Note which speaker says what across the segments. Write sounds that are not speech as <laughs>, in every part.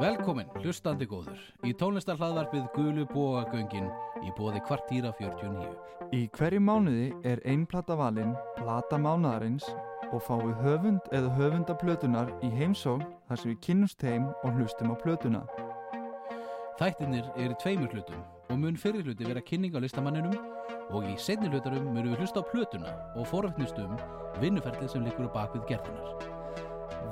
Speaker 1: Velkomin, hlustandi góður, í tónlistarhlaðvarpið Gulu Bóagöngin í bóði kvartýra 49.
Speaker 2: Í hverju mánuði er ein plata valinn, plata mánaðarins og fáið höfund eða höfunda plötunar í heimsókn þar sem við kynnumst þeim og hlustum á plötuna.
Speaker 1: Þættinir eru í tveimur hlutum og mun fyrir hluti vera kynning á listamanninum og í setni hlutarum munum við hlusta á plötuna og foröfnist um vinnuferlið sem liggur á bakvið gerðunar.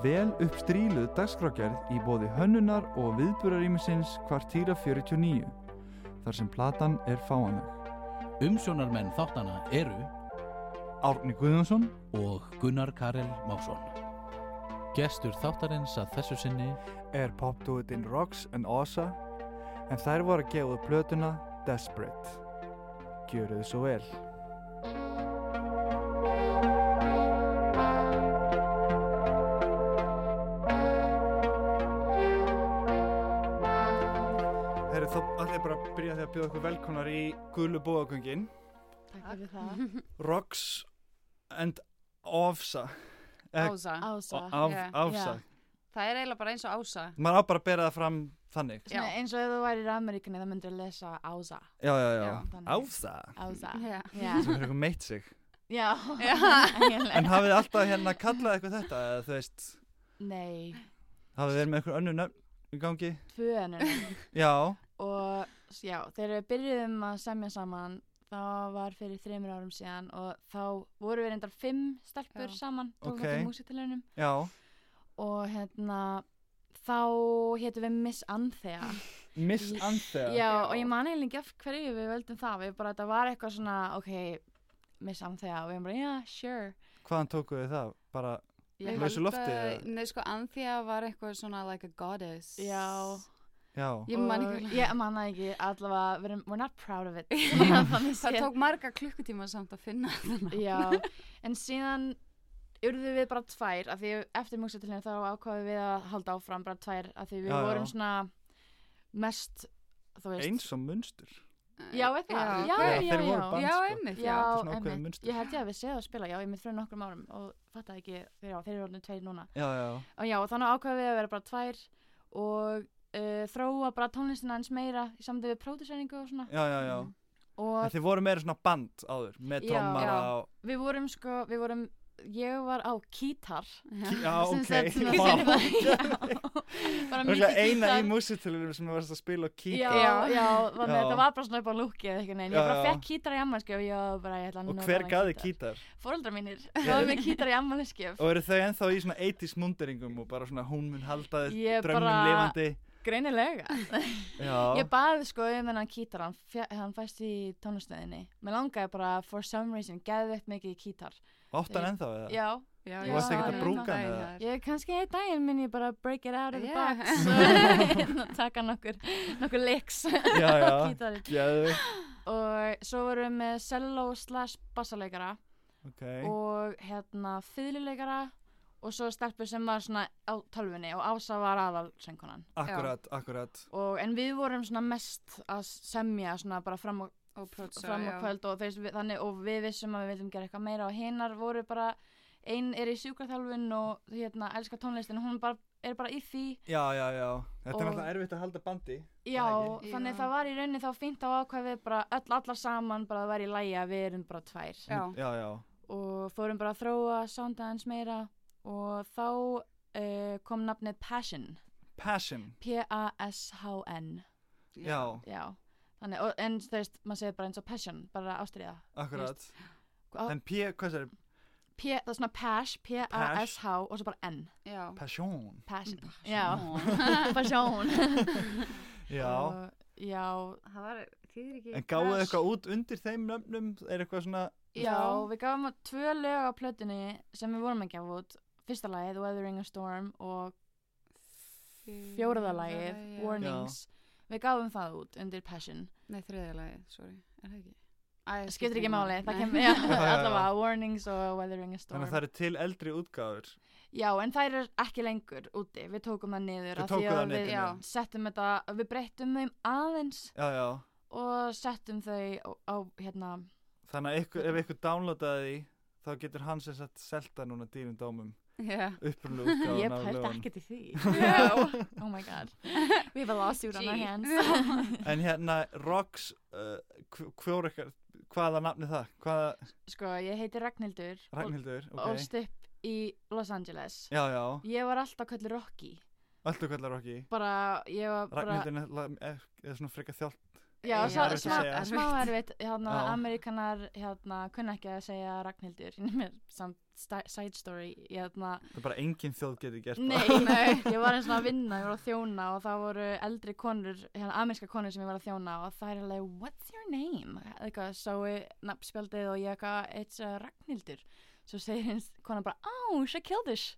Speaker 2: Vel uppstríluð dagskrákjærð í bóði hönnunar og viðburðarýmisins kvartýra 49 þar sem platan er fáanleg.
Speaker 1: Umsjónarmenn þáttana eru
Speaker 2: Árni Guðjónsson,
Speaker 1: og Gunnar Karel Másson. Gestur þáttarins að þessu sinni
Speaker 2: er popdúðin Rox and Osa en þær voru að gefa út plötuna Desperate. Gjöru þið svo vel. Herru, þá ætla ég bara að byrja því að bjóða okkur velkonar í gulu bóðagöngin
Speaker 3: Takk fyrir það.
Speaker 4: Mhm.
Speaker 2: Rox and Ofsa Eh,
Speaker 4: Ása.
Speaker 3: Ása.
Speaker 2: og Af,
Speaker 4: yeah,
Speaker 2: Afsa
Speaker 3: yeah.
Speaker 4: Það er eiginlega bara eins og ása.
Speaker 2: Maður á bara að bera það fram þannig
Speaker 4: Já.
Speaker 3: Svona eins og ef þú værir í Ameríkunni það myndir að lesa Ása.
Speaker 2: Já, já, já,
Speaker 4: Já.
Speaker 3: Þannig.
Speaker 2: Ása
Speaker 3: Ása.
Speaker 4: Já.
Speaker 3: Já.
Speaker 2: <laughs> Sem er eitthvað meitt sig
Speaker 3: Já.
Speaker 4: Mhm. Já.
Speaker 3: eiginlega.
Speaker 2: En hafið þið alltaf hérna kallað eitthvað þetta eða þú veist,
Speaker 3: Nei,
Speaker 2: hafið þið verið með eitthvað önnur nöfn í gangi?
Speaker 3: tvö ennum.
Speaker 2: Já,
Speaker 3: og s- já, þegar við byrjuðum að semja saman, þá var fyrir þreymur árum síðan og þá voru við reyndar fimm stelpur
Speaker 4: Já.
Speaker 3: saman,
Speaker 2: Ok.
Speaker 3: tókum okay. músitilunum
Speaker 2: já,
Speaker 3: og hérna, þá hétum við Miss Anthea.
Speaker 2: Miss
Speaker 3: Já,
Speaker 2: Anthea
Speaker 3: og ég man eiginlega ekki af hverju við völdum það, við bara, þetta var eitthvað svona, ok, Miss Anthea og við erum bara, já, sure.
Speaker 2: Hvaðan tókuð þið það? Bara,
Speaker 3: Ég
Speaker 2: Lausu
Speaker 4: held
Speaker 2: lofti,
Speaker 4: að-
Speaker 2: eða?
Speaker 4: Nei, sko, Anthea var eitthvað svona like a goddess. <laughs>
Speaker 3: Já. <laughs>
Speaker 2: já,
Speaker 4: Ég man
Speaker 3: Og
Speaker 4: ekki vel.
Speaker 3: Ég man það ekki, allavega, we're, we're not proud of it Þannig
Speaker 4: Það
Speaker 3: séð.
Speaker 4: tók marga klukkutíma samt að finna þarna.
Speaker 3: Já, en síðan urðum við bara tvær af því eftir mjögsetilinu þá ákvaðum við að halda áfram bara tvær af því við
Speaker 2: Já, já.
Speaker 3: vorum svona mest, þú veist
Speaker 2: eins og munstur
Speaker 3: Já, veit það, já,
Speaker 2: Já,
Speaker 3: já, já
Speaker 2: þeir voru bara-
Speaker 4: Já,
Speaker 2: Band, sko.
Speaker 4: einmitt,
Speaker 3: Já,
Speaker 4: já.
Speaker 2: svona ákveðið
Speaker 3: einmitt.
Speaker 2: munstur.
Speaker 3: ég held ég að við séð að spila, já, ég mynd fyrir nokkrum árum og fattaði ekki, já, þeir eru orðinu tveir núna
Speaker 2: Já, já,
Speaker 3: og já, og þannig ákvaðum við að vera bara tvær og uh, þróa bara tónlistina eins meira í samtíð við pródusreiningu og svona
Speaker 2: já, já, já.
Speaker 3: og
Speaker 2: En þið voru meira svona band áður Með
Speaker 3: Já.
Speaker 2: trommara
Speaker 4: Já.
Speaker 2: og
Speaker 3: Við vorum sko, við vorum, ég var á
Speaker 2: <laughs>
Speaker 3: kítar.
Speaker 2: Já,
Speaker 3: sem
Speaker 2: ok <laughs>
Speaker 3: sagt svona-
Speaker 2: Vá.
Speaker 3: Já, bara
Speaker 2: Það er
Speaker 3: mikið
Speaker 2: eina
Speaker 3: gítar.
Speaker 2: í músitilunum sem varst að spila og
Speaker 3: Já,
Speaker 2: kíka
Speaker 3: já, þannig
Speaker 2: Já.
Speaker 3: að þetta var bara svona upp á lúki eða eitthvað neina.
Speaker 2: Já,
Speaker 3: Ég bara
Speaker 2: já.
Speaker 3: fekk kítar í ammalskjöf, ég var bara, ég ætla að
Speaker 2: Og
Speaker 3: nota
Speaker 2: hver
Speaker 3: þennan
Speaker 2: gaði
Speaker 3: gítar.
Speaker 2: kítar?
Speaker 3: Fóreldrar mínir, það var með kítar í sko. ammalskjöf.
Speaker 2: Og eru þau ennþá í svona 80s munderingum og bara svona hún mun halda
Speaker 3: Ég
Speaker 2: þér drömmin
Speaker 3: bara-
Speaker 2: lifandi
Speaker 3: Greinilega.
Speaker 2: Já,
Speaker 3: Ég baði sko um hennan kítar, hann, fe- hann fæst í tónastöðinni. Mér langaði bara, for some reason, geðið upp mikið í kítar.
Speaker 2: áttan ennþá eða?
Speaker 3: Já,
Speaker 4: Já,
Speaker 3: Þú
Speaker 4: ég
Speaker 3: varst
Speaker 4: var
Speaker 3: ekkert að
Speaker 4: þarna
Speaker 2: brúka hann,
Speaker 4: daginn
Speaker 2: eða?
Speaker 4: þar.
Speaker 3: Ég kannski einn daginn minn ég bara break it out of the
Speaker 4: Yeah.
Speaker 3: box og hérna, taka nokkur, nokkur licks
Speaker 2: <laughs> já, já.
Speaker 3: á gítarinn.
Speaker 2: Geðu,
Speaker 3: Og svo vorum við með cello slash bassaleikara
Speaker 2: ok
Speaker 3: og hérna fiðluleikara og svo stelpur sem var svona á tölfunni og Ása var aðalsöngunan.
Speaker 2: Akkurat, akkurat
Speaker 3: Og, en við vorum svona mest að semja svona bara fram á,
Speaker 4: Og prótsa,
Speaker 3: fram á
Speaker 4: já.
Speaker 3: kvöld og, þeir, þannig, og við vissum að við vildum gera eitthvað meira og hinnar voru bara, einn er í sjúkraþjálfun og hérna elskar tónlistin og hún bara, er bara í því
Speaker 2: Já, já, já Þetta
Speaker 3: Og-
Speaker 2: er náttúrulega erfitt að halda bandi
Speaker 3: Já,
Speaker 2: ekki?
Speaker 3: þannig
Speaker 4: Já.
Speaker 3: það var í rauninni þá fínt á ákvæði bara öll allar saman bara það væri í lægi að við erum bara tvær
Speaker 4: Já.
Speaker 2: Já, já,
Speaker 3: og fórum bara að þróa soundaðins meira og þá uh, kom nafnið Passion
Speaker 2: passion
Speaker 3: P-A-S-H-N
Speaker 2: Já,
Speaker 3: Já, þannig, og, en þú veist, maður segir bara eins og Passion, bara ástriða
Speaker 2: akkurat
Speaker 3: Á-
Speaker 2: En P, hvað er
Speaker 3: P, það er svona Pash, P-A-S-H og svo bara N,
Speaker 4: Já.
Speaker 2: passion?
Speaker 3: Passion Já,
Speaker 4: Ó.
Speaker 3: Passion
Speaker 2: Já,
Speaker 3: <laughs> Og- Já,
Speaker 4: Það var, þýðir ekki.
Speaker 2: en gáðu
Speaker 4: crush.
Speaker 2: eitthvað út undir þeim nöfnum Er eitthvað svona
Speaker 3: Já, við gafum að tvö lög á plötunni sem við vorum að gefa út. Fyrsta lagið, Weathering a Storm og fjóraða lagið,
Speaker 4: Fjórða, já.
Speaker 3: Warnings. Við gafum það út undir Passion.
Speaker 4: Nei, þriðja lagið, sorry. Er það ekki? Æ,
Speaker 3: Það skiptir ekki máli, það
Speaker 4: Nei. <laughs>
Speaker 3: kemur, <laughs> já,
Speaker 2: já, já.
Speaker 3: allavega, Warnings og Weathering a Storm.
Speaker 2: Þannig að það eru til eldri útgáfur
Speaker 3: Já, en þær er ekki lengur úti, við tókum það niður.
Speaker 2: Þið
Speaker 3: af því
Speaker 2: tókuð
Speaker 3: að
Speaker 2: það niður,
Speaker 3: Við
Speaker 4: já.
Speaker 3: settum þetta, við breyttum þeim aðeins
Speaker 2: Já, já
Speaker 3: og settum þau á, á hérna,
Speaker 2: Þannig að ykkur, ef ykkur downloadaði því Þá getur hann sem sagt selta núna dýrum dómum
Speaker 4: Já,
Speaker 3: <laughs>
Speaker 2: upprunlega útgáðan
Speaker 3: Ég
Speaker 2: af
Speaker 3: pælt
Speaker 2: lögunum.
Speaker 3: ekki til því no. Oh my god We have a lawsuit on our
Speaker 4: Gee.
Speaker 3: hands
Speaker 2: En hérna, Rox, uh, hver ykkar, hvaða nafni það? Hvaða,
Speaker 3: <laughs> Sko, ég heiti Ragnhildur
Speaker 2: Ragnhildur,
Speaker 3: og
Speaker 2: ok.
Speaker 3: ólst upp í Los Angeles
Speaker 2: Já, já,
Speaker 3: Ég var alltaf köllu Rocky
Speaker 2: öllu kallar Rocky.
Speaker 3: Bara, ég var bara
Speaker 2: Ragnhildur er náttúrulega- er, er svona frekar þjálp.
Speaker 3: Já,
Speaker 4: Já,
Speaker 3: smá,
Speaker 2: erfitt að
Speaker 3: smá,
Speaker 2: segja.
Speaker 3: smá erfitt hérna,
Speaker 2: Já.
Speaker 3: Amerikanar hérna, kunna ekki að segja Ragnhildur <laughs> með samt sta- side story hérna,
Speaker 2: Það er bara engin þjóð getur gert
Speaker 3: <laughs> Nei,
Speaker 2: það.
Speaker 3: nei, ég var eins og að vinna, ég var að þjóna og það voru eldri konur, hérna amerska konur sem ég var að þjóna og það er alveg, what's your name? Eitthvað, sáu nafnspjaldið og ég eitthvað, it's uh, Ragnhildur. Svo segir hins konan bara, oh, she killed us.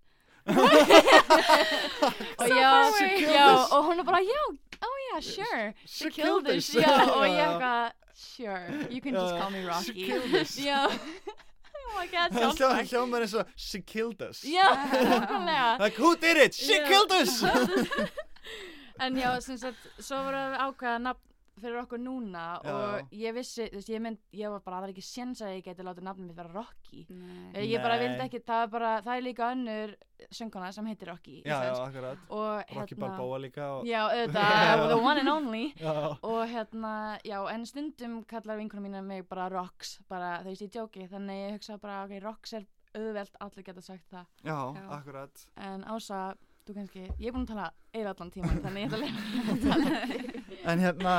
Speaker 2: Oh,
Speaker 3: og já,
Speaker 4: She killed
Speaker 3: já,
Speaker 2: us.
Speaker 3: og hún er bara, já, oh yeah, sure, she, killed us. <laughs> Já, og ég
Speaker 2: <laughs>
Speaker 3: eitthvað, oh, sure, you can just
Speaker 2: Já,
Speaker 3: call me
Speaker 2: Uh, She
Speaker 3: <laughs> Rocky.
Speaker 2: killed us. <laughs>
Speaker 3: Já, oh my god,
Speaker 2: Það hljómar- <laughs>
Speaker 3: sjálfsagt.
Speaker 2: hljómar eins og she killed
Speaker 3: <laughs>
Speaker 2: us.
Speaker 3: Já, nákvæmlega.
Speaker 2: <laughs> Like, who did it? She
Speaker 3: Já.
Speaker 2: killed us!
Speaker 3: <laughs> en já, sem sagt, svo voru að ákveða nafn fyrir okkur núna
Speaker 2: Já,
Speaker 3: og ég vissi, þú veist, ég mynd, ég var bara, það er ekki séns að ég geti látið nafnum mitt vera Rocky. Eh,
Speaker 4: nei.
Speaker 3: Ég bara
Speaker 2: Nei.
Speaker 3: vildi ekki, það er bara, það er líka önnur sönguna sem heitir Rocky.
Speaker 2: <laughs> já, já, akkurat.
Speaker 3: Og hérna-
Speaker 2: Rocky Balboa líka og...
Speaker 3: Já, auðvitað,
Speaker 2: Já.
Speaker 3: the one and only.
Speaker 2: Já,
Speaker 3: Og hérna, já, en stundum kallar vinkunum mína mig bara Rox, bara, þú veist, ég djóki, þannig ég hugsa bara, ok, Rox er auðvelt, allir geta sagt það.
Speaker 2: já,
Speaker 4: Já.
Speaker 2: akkurat.
Speaker 3: En Ása, þú kannski, ég er búin að tala eiginlega allan tíma, þannig ég ætla að leiða að tala.
Speaker 2: En hérna,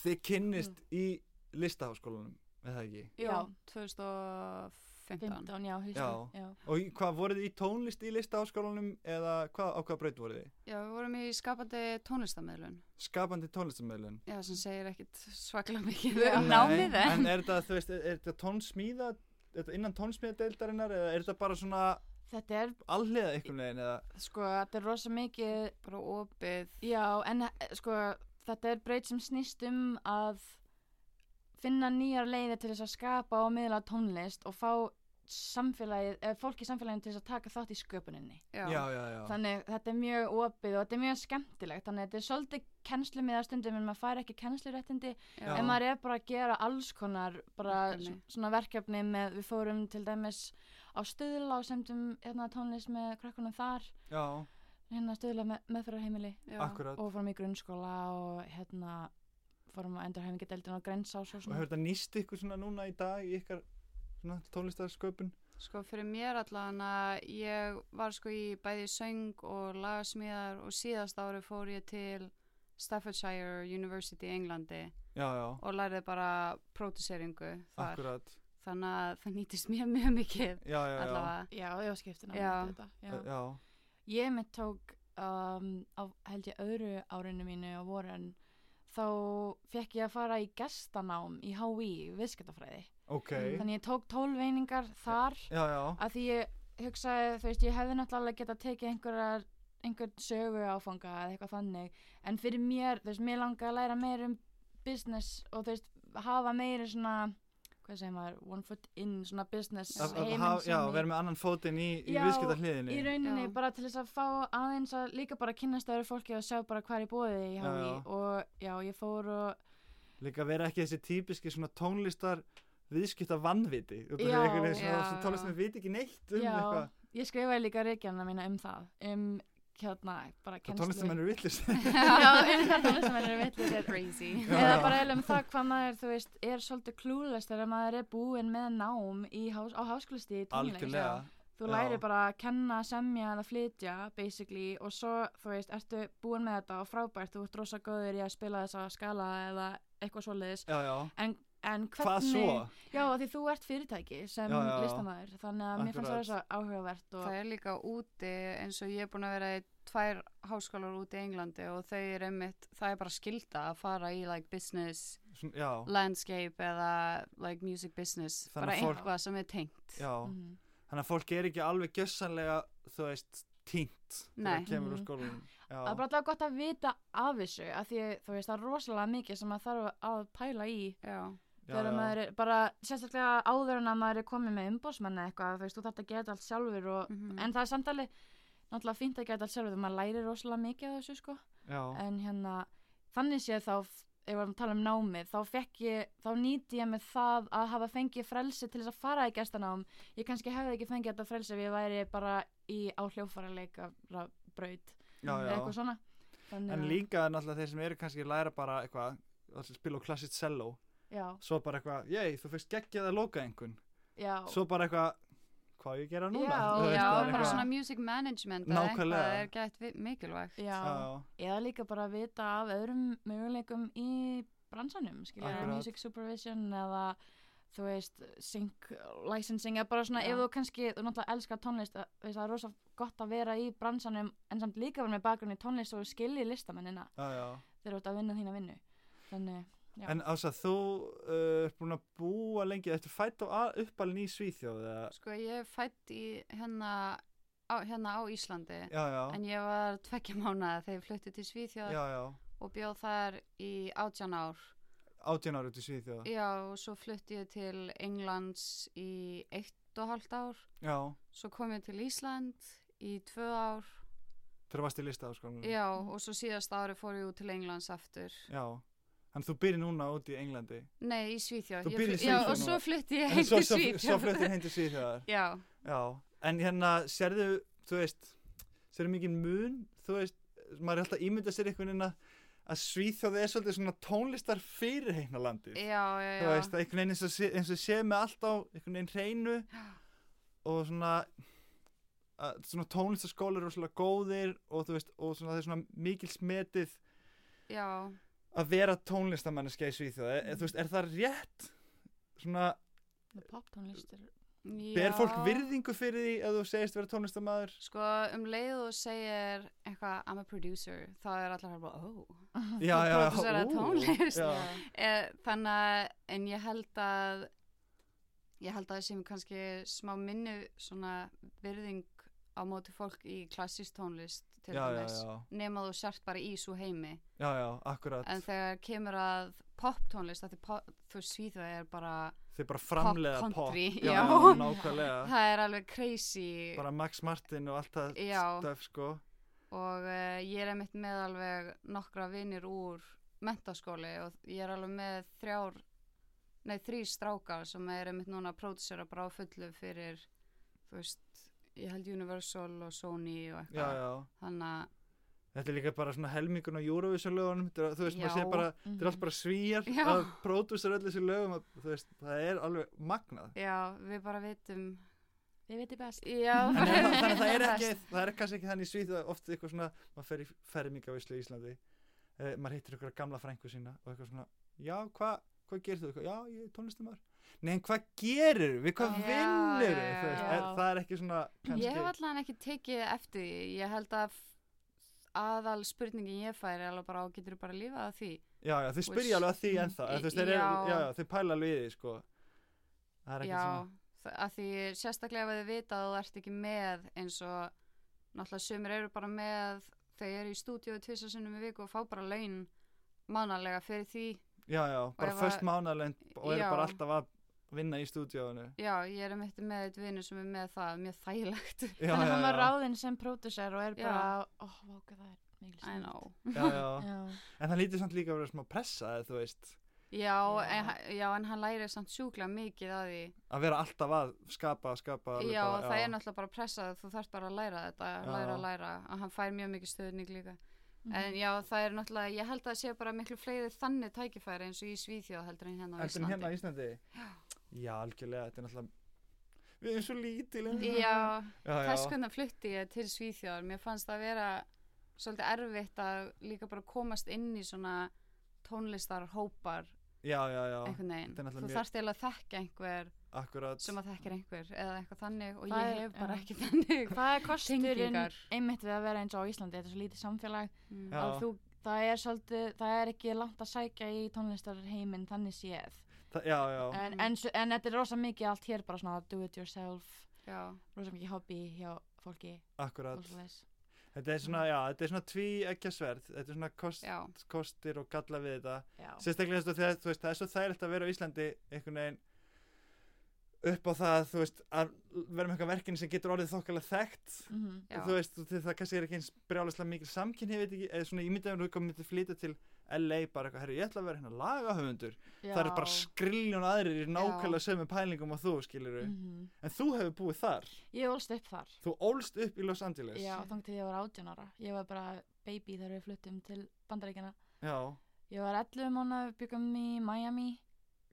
Speaker 2: þið kynnist
Speaker 3: Mm.
Speaker 2: í listaháskólanum, eða það ekki?
Speaker 4: Jú,
Speaker 3: Já.
Speaker 4: 2015.
Speaker 3: 15, já,
Speaker 2: Já.
Speaker 3: haustu, já.
Speaker 2: Og í- hvað, voruð þið í tónlist í listaháskólanum eða hvað, á hvað braut voruð þið?
Speaker 4: Já, við vorum í skapandi tónlistameðlun.
Speaker 2: Skapandi tónlistamöðlun.
Speaker 4: Já, sem segir ekkit svaklega mikið
Speaker 3: Já.
Speaker 4: um námið en.
Speaker 2: En er þetta, þú veist, er, er þetta tónsmíða, er þetta innan tónsmíðadeildarinnar eða er þetta bara svona
Speaker 3: Þetta er,
Speaker 2: alliða einhvern veginn eða?
Speaker 3: sko, þetta er rosa mikið,
Speaker 4: Bara opið.
Speaker 3: já, en eh, sko, þetta er breyt sem snýst um að finna nýjar leiðir til þess að skapa og miðla tónlist og fá samfélagið, eða fólk í samfélaginu til þess að taka þátt í sköpuninni.
Speaker 4: Já,
Speaker 2: já, já. já.
Speaker 3: Þannig þetta er mjög opið og þetta er mjög skemmtilegt, þannig þetta er svolítið kennslu með að stundum en maður fær ekki kennsluréttindi
Speaker 2: Já.
Speaker 3: en maður er bara að gera alls konar bara
Speaker 4: Verkefni.
Speaker 3: s- svona verkefni með, við fórum til dæmis á stuðla og semdum hérna, tónlist með krökkunum þar
Speaker 2: já,
Speaker 3: hérna stuðla með, meðferðarheimili
Speaker 4: já.
Speaker 2: akkurat. Og,
Speaker 3: og fórum í grunnskóla og hérna fórum á endurhæfingadeildin og grænsás og svona
Speaker 2: hefur þetta nýst ykkur svona núna í dag í ykkar svona tónlistarsköpun?
Speaker 4: Sko fyrir mér allan að ég var sko í bæði söng og lagasmíðar og síðast ári fór ég til Staffordshire University í Englandi
Speaker 2: Já, já,
Speaker 4: og lærði bara próduseringu þar.
Speaker 2: akkurat.
Speaker 4: Þannig að það nýtist mér mjög mikið
Speaker 2: Já, já, já.
Speaker 4: allavega.
Speaker 3: já, já, skiptina
Speaker 4: Já.
Speaker 3: myndi þetta,
Speaker 2: Já,
Speaker 3: já. ég mitt tók um, á held ég öðru árinu mínu á vorun þá fekk ég að fara í gestanám í HÍ, viðskiptafræði
Speaker 2: ok.
Speaker 3: þannig ég tók tólveiningar þar
Speaker 2: Já, já,
Speaker 3: að því ég hugsaði, þú veist, ég hefði náttúrulega geta tekið einhverjar einhvern sögu áfanga eða eitthvað þannig en fyrir mér, þú veist, mér langaði að læra meir um business og þú veist, hafa meiri svona hvað segir maður, one foot in svona business
Speaker 2: Að- að
Speaker 3: heiminn
Speaker 2: hafa-
Speaker 3: sem
Speaker 2: já,
Speaker 3: ég-
Speaker 2: vera með annan fótinn í, í
Speaker 3: Já,
Speaker 2: viðskipta
Speaker 3: í rauninni
Speaker 4: Já.
Speaker 3: bara til þess að fá aðeins að líka bara kynnast öðru fólki og sjá bara hvað er í bóði í
Speaker 2: Já,
Speaker 3: HÍ
Speaker 2: já.
Speaker 3: og já, ég fór og
Speaker 2: líka vera ekki þessi típiski svona tónlistar viðskipta vannviti já,
Speaker 3: Já,
Speaker 2: svona,
Speaker 4: já.
Speaker 2: svona tónlist sem viti ekki neitt um
Speaker 3: Já,
Speaker 2: eitthvað
Speaker 3: ég skrifaði líka reykjana mína um það um hérna, bara
Speaker 2: það
Speaker 3: kennslu
Speaker 2: tónlistar menn eru villist
Speaker 3: <laughs>
Speaker 4: <laughs>
Speaker 3: já, um það tónlistamenn eru vitlir
Speaker 2: <laughs>
Speaker 4: Crazy.
Speaker 2: Já,
Speaker 3: eða
Speaker 2: já.
Speaker 3: bara eiginlega um það hvað maður, þú veist, er svolítið klúlest þegar maður er búinn með nám í hás, á háskólisti í tónleik.
Speaker 2: algjörlega
Speaker 3: Þú
Speaker 2: já.
Speaker 3: lærir bara að kenna, semja eða flytja, basically, og svo, þú veist, ertu búinn með þetta og frábært, þú ert rosa góður í að spila þessa skala eða eitthvað svoleiðis.
Speaker 2: já, já.
Speaker 3: En, en hvernig...
Speaker 2: hvað svo?
Speaker 3: Já, af því þú ert fyrirtæki sem
Speaker 2: Já, já, já.
Speaker 3: listamæður, þannig að mér fannst það
Speaker 2: Akkurat.
Speaker 3: rosa áhugavert og...
Speaker 4: Það er líka úti eins og ég er búin að vera í tvær háskólar úti í Englandi og þau er einmitt, það er bara skilda að fara í like business,
Speaker 2: Svona, já,
Speaker 4: landscape eða like music business,
Speaker 2: Þannig
Speaker 4: bara
Speaker 2: að fólk-
Speaker 4: eitthvað sem er tengt.
Speaker 2: já.
Speaker 3: Mhm.
Speaker 2: þannig að fólk er ekki alveg gjössanlega þú veist, tínt
Speaker 4: Nei.
Speaker 2: þegar það kemur úr
Speaker 3: Mhm.
Speaker 2: skólanum já,
Speaker 3: Það er bara alltaf gott að vita af þessu, af því, þú veist, það er rosalega mikið sem maður þarf að pæla í
Speaker 4: Já,
Speaker 2: já,
Speaker 3: þegar
Speaker 2: já.
Speaker 3: maður er bara sérstaklega áður en að maður er komið með umbósmenn eitthvað þú veist, þú þarf að gera þetta allt sjálfur og,
Speaker 4: Mhm.
Speaker 3: en það er samt alveg náttúrulega fínt að gera þetta allt sjálfur þegar maður lærir rosalega mikið af þessu sko
Speaker 2: já,
Speaker 3: en hérna, þannig séð þá ef við varum að tala um námið, þá fekk ég þá nýti ég með það að hafa fengið frelsi til þess að fara í gestanám ég kannski hefði ekki fengið þetta frelsi ef ég væri bara í á hljófaraleika braut
Speaker 2: já,
Speaker 3: eða eitthvað svona Þannig
Speaker 2: En
Speaker 3: að-
Speaker 2: líka náttúrulega þeir sem eru kannski að læra bara eitthvað, að spila á klassið cello,
Speaker 3: já,
Speaker 2: svo bara eitthvað, jei, þú fyrst geggjað að lóka einhvern,
Speaker 3: já,
Speaker 2: svo bara eitthvað, hvað á ég að gera núna?
Speaker 3: Já,
Speaker 2: Þú
Speaker 4: Já,
Speaker 2: veist,
Speaker 4: já
Speaker 2: það er
Speaker 4: bara
Speaker 2: eitthvað-
Speaker 4: svona music management eða
Speaker 2: Nákvæmlega.
Speaker 4: eitthvað er gætt vi- mikilvægt
Speaker 3: já,
Speaker 2: Já,
Speaker 3: eða líka bara að vita af öðrum möguleikum í bransanum skilja,
Speaker 2: Akkurát.
Speaker 3: music supervision eða þú veist, sync licensing eða bara svona
Speaker 4: Já.
Speaker 3: ef þú kannski, þú náttúrulega elskar tónlist að, veist, það er rosa gott að vera í bransanum en samt líka vera með bakgrunn í tónlist og skilji listamennina
Speaker 2: já, já.
Speaker 3: þegar þú ert að vinna þína vinnu þannig, Já.
Speaker 2: En Ása, þú uh, ert búin að búa lengi, ertu fætt á uppalinn í Svíþjóð? Eða?
Speaker 4: Sko ég er fætt í hérna á, hérna á
Speaker 2: Já,
Speaker 4: Íslandi
Speaker 2: já,
Speaker 4: en ég var tvekkja mánaða þegar ég flutti til
Speaker 2: já,
Speaker 4: Svíþjóð
Speaker 2: já,
Speaker 4: og bjóð þar í átján ár
Speaker 2: átján ára út í Svíþjóð.
Speaker 4: Já, og svo flutti ég til Englands í eitt og halvt ár
Speaker 2: Já,
Speaker 4: svo kom ég til Ísland í tvö ár
Speaker 2: þegar varst í lista sko. á skólum.
Speaker 4: Já, og svo síðast ári fór ég út til Englands aftur.
Speaker 2: Mm. Já, en þú byrjir núna út í Englandi.
Speaker 4: Nei, í Svíþjóð.
Speaker 2: Þú
Speaker 4: Ég
Speaker 2: býrð í
Speaker 4: fl- Já,
Speaker 2: Svíþjóð
Speaker 4: og svo
Speaker 2: núna.
Speaker 4: flutti ég
Speaker 2: En
Speaker 4: <laughs> heim
Speaker 2: svo-
Speaker 4: til
Speaker 2: svo-
Speaker 4: Svíþjóð.
Speaker 2: Svo fluttir heim til Svíþjóðar.
Speaker 4: <laughs> Já,
Speaker 2: Já, en hérna, sérðu, þú veist, sérðu mikið mun, þú veist, maður er alltaf að ímynda sér einhvern veginn að að Svíþjóði er svolítið svona tónlistar fyrir heina landið.
Speaker 4: já, já, já.
Speaker 2: þú veist, það einhvern veginn eins og, sé, eins og sé með allt á einhvern veginn hreinu og svona að, svona tónlistaskólar eru svona góðir og þú veist, og svona það er svona mikil smetið
Speaker 4: Já,
Speaker 2: að vera tónlistamanniska í Svíþjóð e, þú veist, er það rétt svona,
Speaker 3: pop tónlist er
Speaker 4: já.
Speaker 2: ber fólk virðingu fyrir því að þú segist vera tónlistamæður
Speaker 4: Sko, um leið og þú segir eitthvað, I'm a producer, þá er allar bara, "Oh." ó.
Speaker 2: já, já,
Speaker 4: Pródúsera
Speaker 2: ú,
Speaker 4: tónlist.
Speaker 2: já,
Speaker 4: E, þannig að, en ég held að, ég held að það sem kannski smá minni svona virðing á móti fólk í klassist tónlist til
Speaker 2: já, já,
Speaker 4: dæmis.
Speaker 2: já,
Speaker 4: Nema þú sért bara í svo heimi.
Speaker 2: já, já, akkurat
Speaker 4: En þegar kemur að poptónlist, af því pop, þú svíðu er bara,
Speaker 2: þeir bara framlega
Speaker 4: pop
Speaker 2: pop,
Speaker 4: country,
Speaker 2: já,
Speaker 4: já.
Speaker 2: já, nákvæmlega
Speaker 4: það er alveg crazy
Speaker 2: bara Max Martin og allt það
Speaker 4: Já.
Speaker 2: stöf sko,
Speaker 4: og uh, ég er einmitt með alveg nokkra vinnir úr mentaskóli og ég er alveg með þrjár, nei þrý strákar sem er einmitt núna að pródusera bara á fullu fyrir, þú veist, ég held Universal og Sony og
Speaker 2: já,
Speaker 4: eitthvað.
Speaker 2: já
Speaker 4: Þannig að,
Speaker 2: Þetta er líka bara svona helmingun á Eurovision lögunum, þetta er- þú veist, maður
Speaker 4: Já.
Speaker 2: sé bara,
Speaker 3: Mhm.
Speaker 2: þetta er allt bara svíjar
Speaker 4: Já.
Speaker 2: að pródúsar öll þessi lögum, að, þú veist, það er alveg magnað.
Speaker 4: já, við bara vitum,
Speaker 3: Þið veitir best
Speaker 4: já,
Speaker 2: En er, það- <laughs> þannig að
Speaker 4: <laughs>
Speaker 2: það er
Speaker 4: best.
Speaker 2: ekki, það er kannski ekki þannig í Svíð að oft eitthvað svona, maður fer í fermingavislu í Íslandi, eh, maður hittir ykkur gamla frængu sína og eitthvað svona, já, hvað, hvað gerir þú? Eitthvað, Já, ég er tónlistamar. Nei, en hvað gerir, við hvað
Speaker 4: Já,
Speaker 2: vinnur,
Speaker 4: já, já,
Speaker 2: þú veist,
Speaker 3: já.
Speaker 2: er, það er ekki svona, kannski,
Speaker 4: Ég hef allan ekki tekið eftir því. Ég held að f- aðal spurningin ég færi alveg bara á getur bara lífað af því.
Speaker 2: já, já, þau spyrja alveg að því en það, þú veist, þeir eru,
Speaker 4: Já.
Speaker 2: já, já, þau pæla alveg í því, sko. Það er ekki
Speaker 4: Já,
Speaker 2: svona,
Speaker 4: þa- af því sérstaklega ef þið vita að þú ert ekki með eins og náttúrulega sömur eru bara með þegar ég er í stúdíu tvisar sinnum í viku og fá bara laun mánalega fyrir því.
Speaker 2: já, já, bara
Speaker 4: ef að-
Speaker 2: föst mánalend og eru
Speaker 4: Já.
Speaker 2: bara alltaf að vinna í stúdíónu.
Speaker 4: Já, ég er mitt með eitt vinnu sem er með það, mjög
Speaker 2: <laughs>
Speaker 4: þægilegt.
Speaker 2: Já,
Speaker 3: Þannig
Speaker 2: já,
Speaker 3: að hann var
Speaker 2: já,
Speaker 3: ráðinn sem pródusser og er
Speaker 4: Já.
Speaker 3: bara, ó, vá, hvað það er mikil
Speaker 4: I know.
Speaker 2: já, já.
Speaker 3: Já,
Speaker 2: En það lítið samt líka að vera smá pressa, eða, þú veist,
Speaker 4: Já,
Speaker 3: Já.
Speaker 4: En, h- já, en hann læri samt sjúklega mikið að því.
Speaker 2: að vera alltaf að skapa, skapa. alveg
Speaker 4: já,
Speaker 2: bara,
Speaker 4: það er náttúrulega bara pressað, þú þarft bara að læra þetta,
Speaker 2: Já.
Speaker 4: læra að læra, að hann fær mjög mikið stöðning líka.
Speaker 3: Mhm.
Speaker 4: En já, það er náttúrulega, ég held að það sé bara miklu fleiri þannig tækifæri eins og í Svíþjóð heldur en hérna á
Speaker 2: Heldur en
Speaker 4: Íslandi.
Speaker 2: hérna á Íslandi? Já, algjörlega, þetta er náttúrulega, við erum svo lítil. en-
Speaker 4: Já,
Speaker 2: já,
Speaker 4: þess
Speaker 2: já,
Speaker 4: hvernig flutti ég til Svíþjóðar, mér fannst það vera svolítið erfitt að líka bara komast inn í svona tónlistarhópar
Speaker 2: já, já, já,
Speaker 4: einhvern veginn.
Speaker 2: þetta er náttúrulega
Speaker 4: Þú
Speaker 2: mjög-
Speaker 4: þarft eiginlega að þekka einhver
Speaker 2: akkurat.
Speaker 4: sem að þekkir einhver eða eitthvað þannig og
Speaker 3: Það
Speaker 4: ég
Speaker 3: er-
Speaker 4: hef bara
Speaker 3: já.
Speaker 4: ekki þannig.
Speaker 3: Það er kosturinn
Speaker 4: Tengingar.
Speaker 3: einmitt við að vera eins og á Íslandi, þetta er svo lítið samfélag
Speaker 4: Mm.
Speaker 2: Já.
Speaker 3: að þú, það er svolítið, það er ekki langt að sækja í tónlistarheiminn þannig séð
Speaker 2: Þa, já, já,
Speaker 3: en,
Speaker 4: Mm.
Speaker 3: en, s- en þetta er rosa mikið allt hér bara svona do it yourself,
Speaker 4: Já,
Speaker 3: rosa mikið hobby hjá fólki og
Speaker 2: akkurat.
Speaker 3: svoleiðis.
Speaker 2: Þetta er svona, já, þetta er svona tví ekki sverð, þetta er svona kost,
Speaker 4: já,
Speaker 2: kostir og galla við þetta.
Speaker 3: Já.
Speaker 2: sérstaklega þess að þegar, þú veist, það er svo þægilegt að vera á Íslandi einhvern veginn upp á það þú veist að vera með eitthvað verkefni sem getur orðið þokkalega þekkt
Speaker 3: mm -hmm.
Speaker 4: Já.
Speaker 2: þú veist, þú- það kannski er ekki eins brjálislega mikil samkynni, ég veit ekki, eða svona ég myndi að þú myndi flytja til LA bara eitthvað, herru, ég ætla að vera hérna lagahöfundur, það eru bara skrilljón aðrir í nákvæmlega sömu pælingum og þú, skilur
Speaker 3: mm -hmm.
Speaker 2: en þú hefur búið þar,
Speaker 3: Ég ólst upp þar
Speaker 2: þú ólst upp í Los Angeles
Speaker 3: Já, þangt til ég var 18 ára Ég var bara baby þegar við fluttum til bandaríkjana
Speaker 2: Já.
Speaker 3: Ég var 11 mánu, byggum í Miami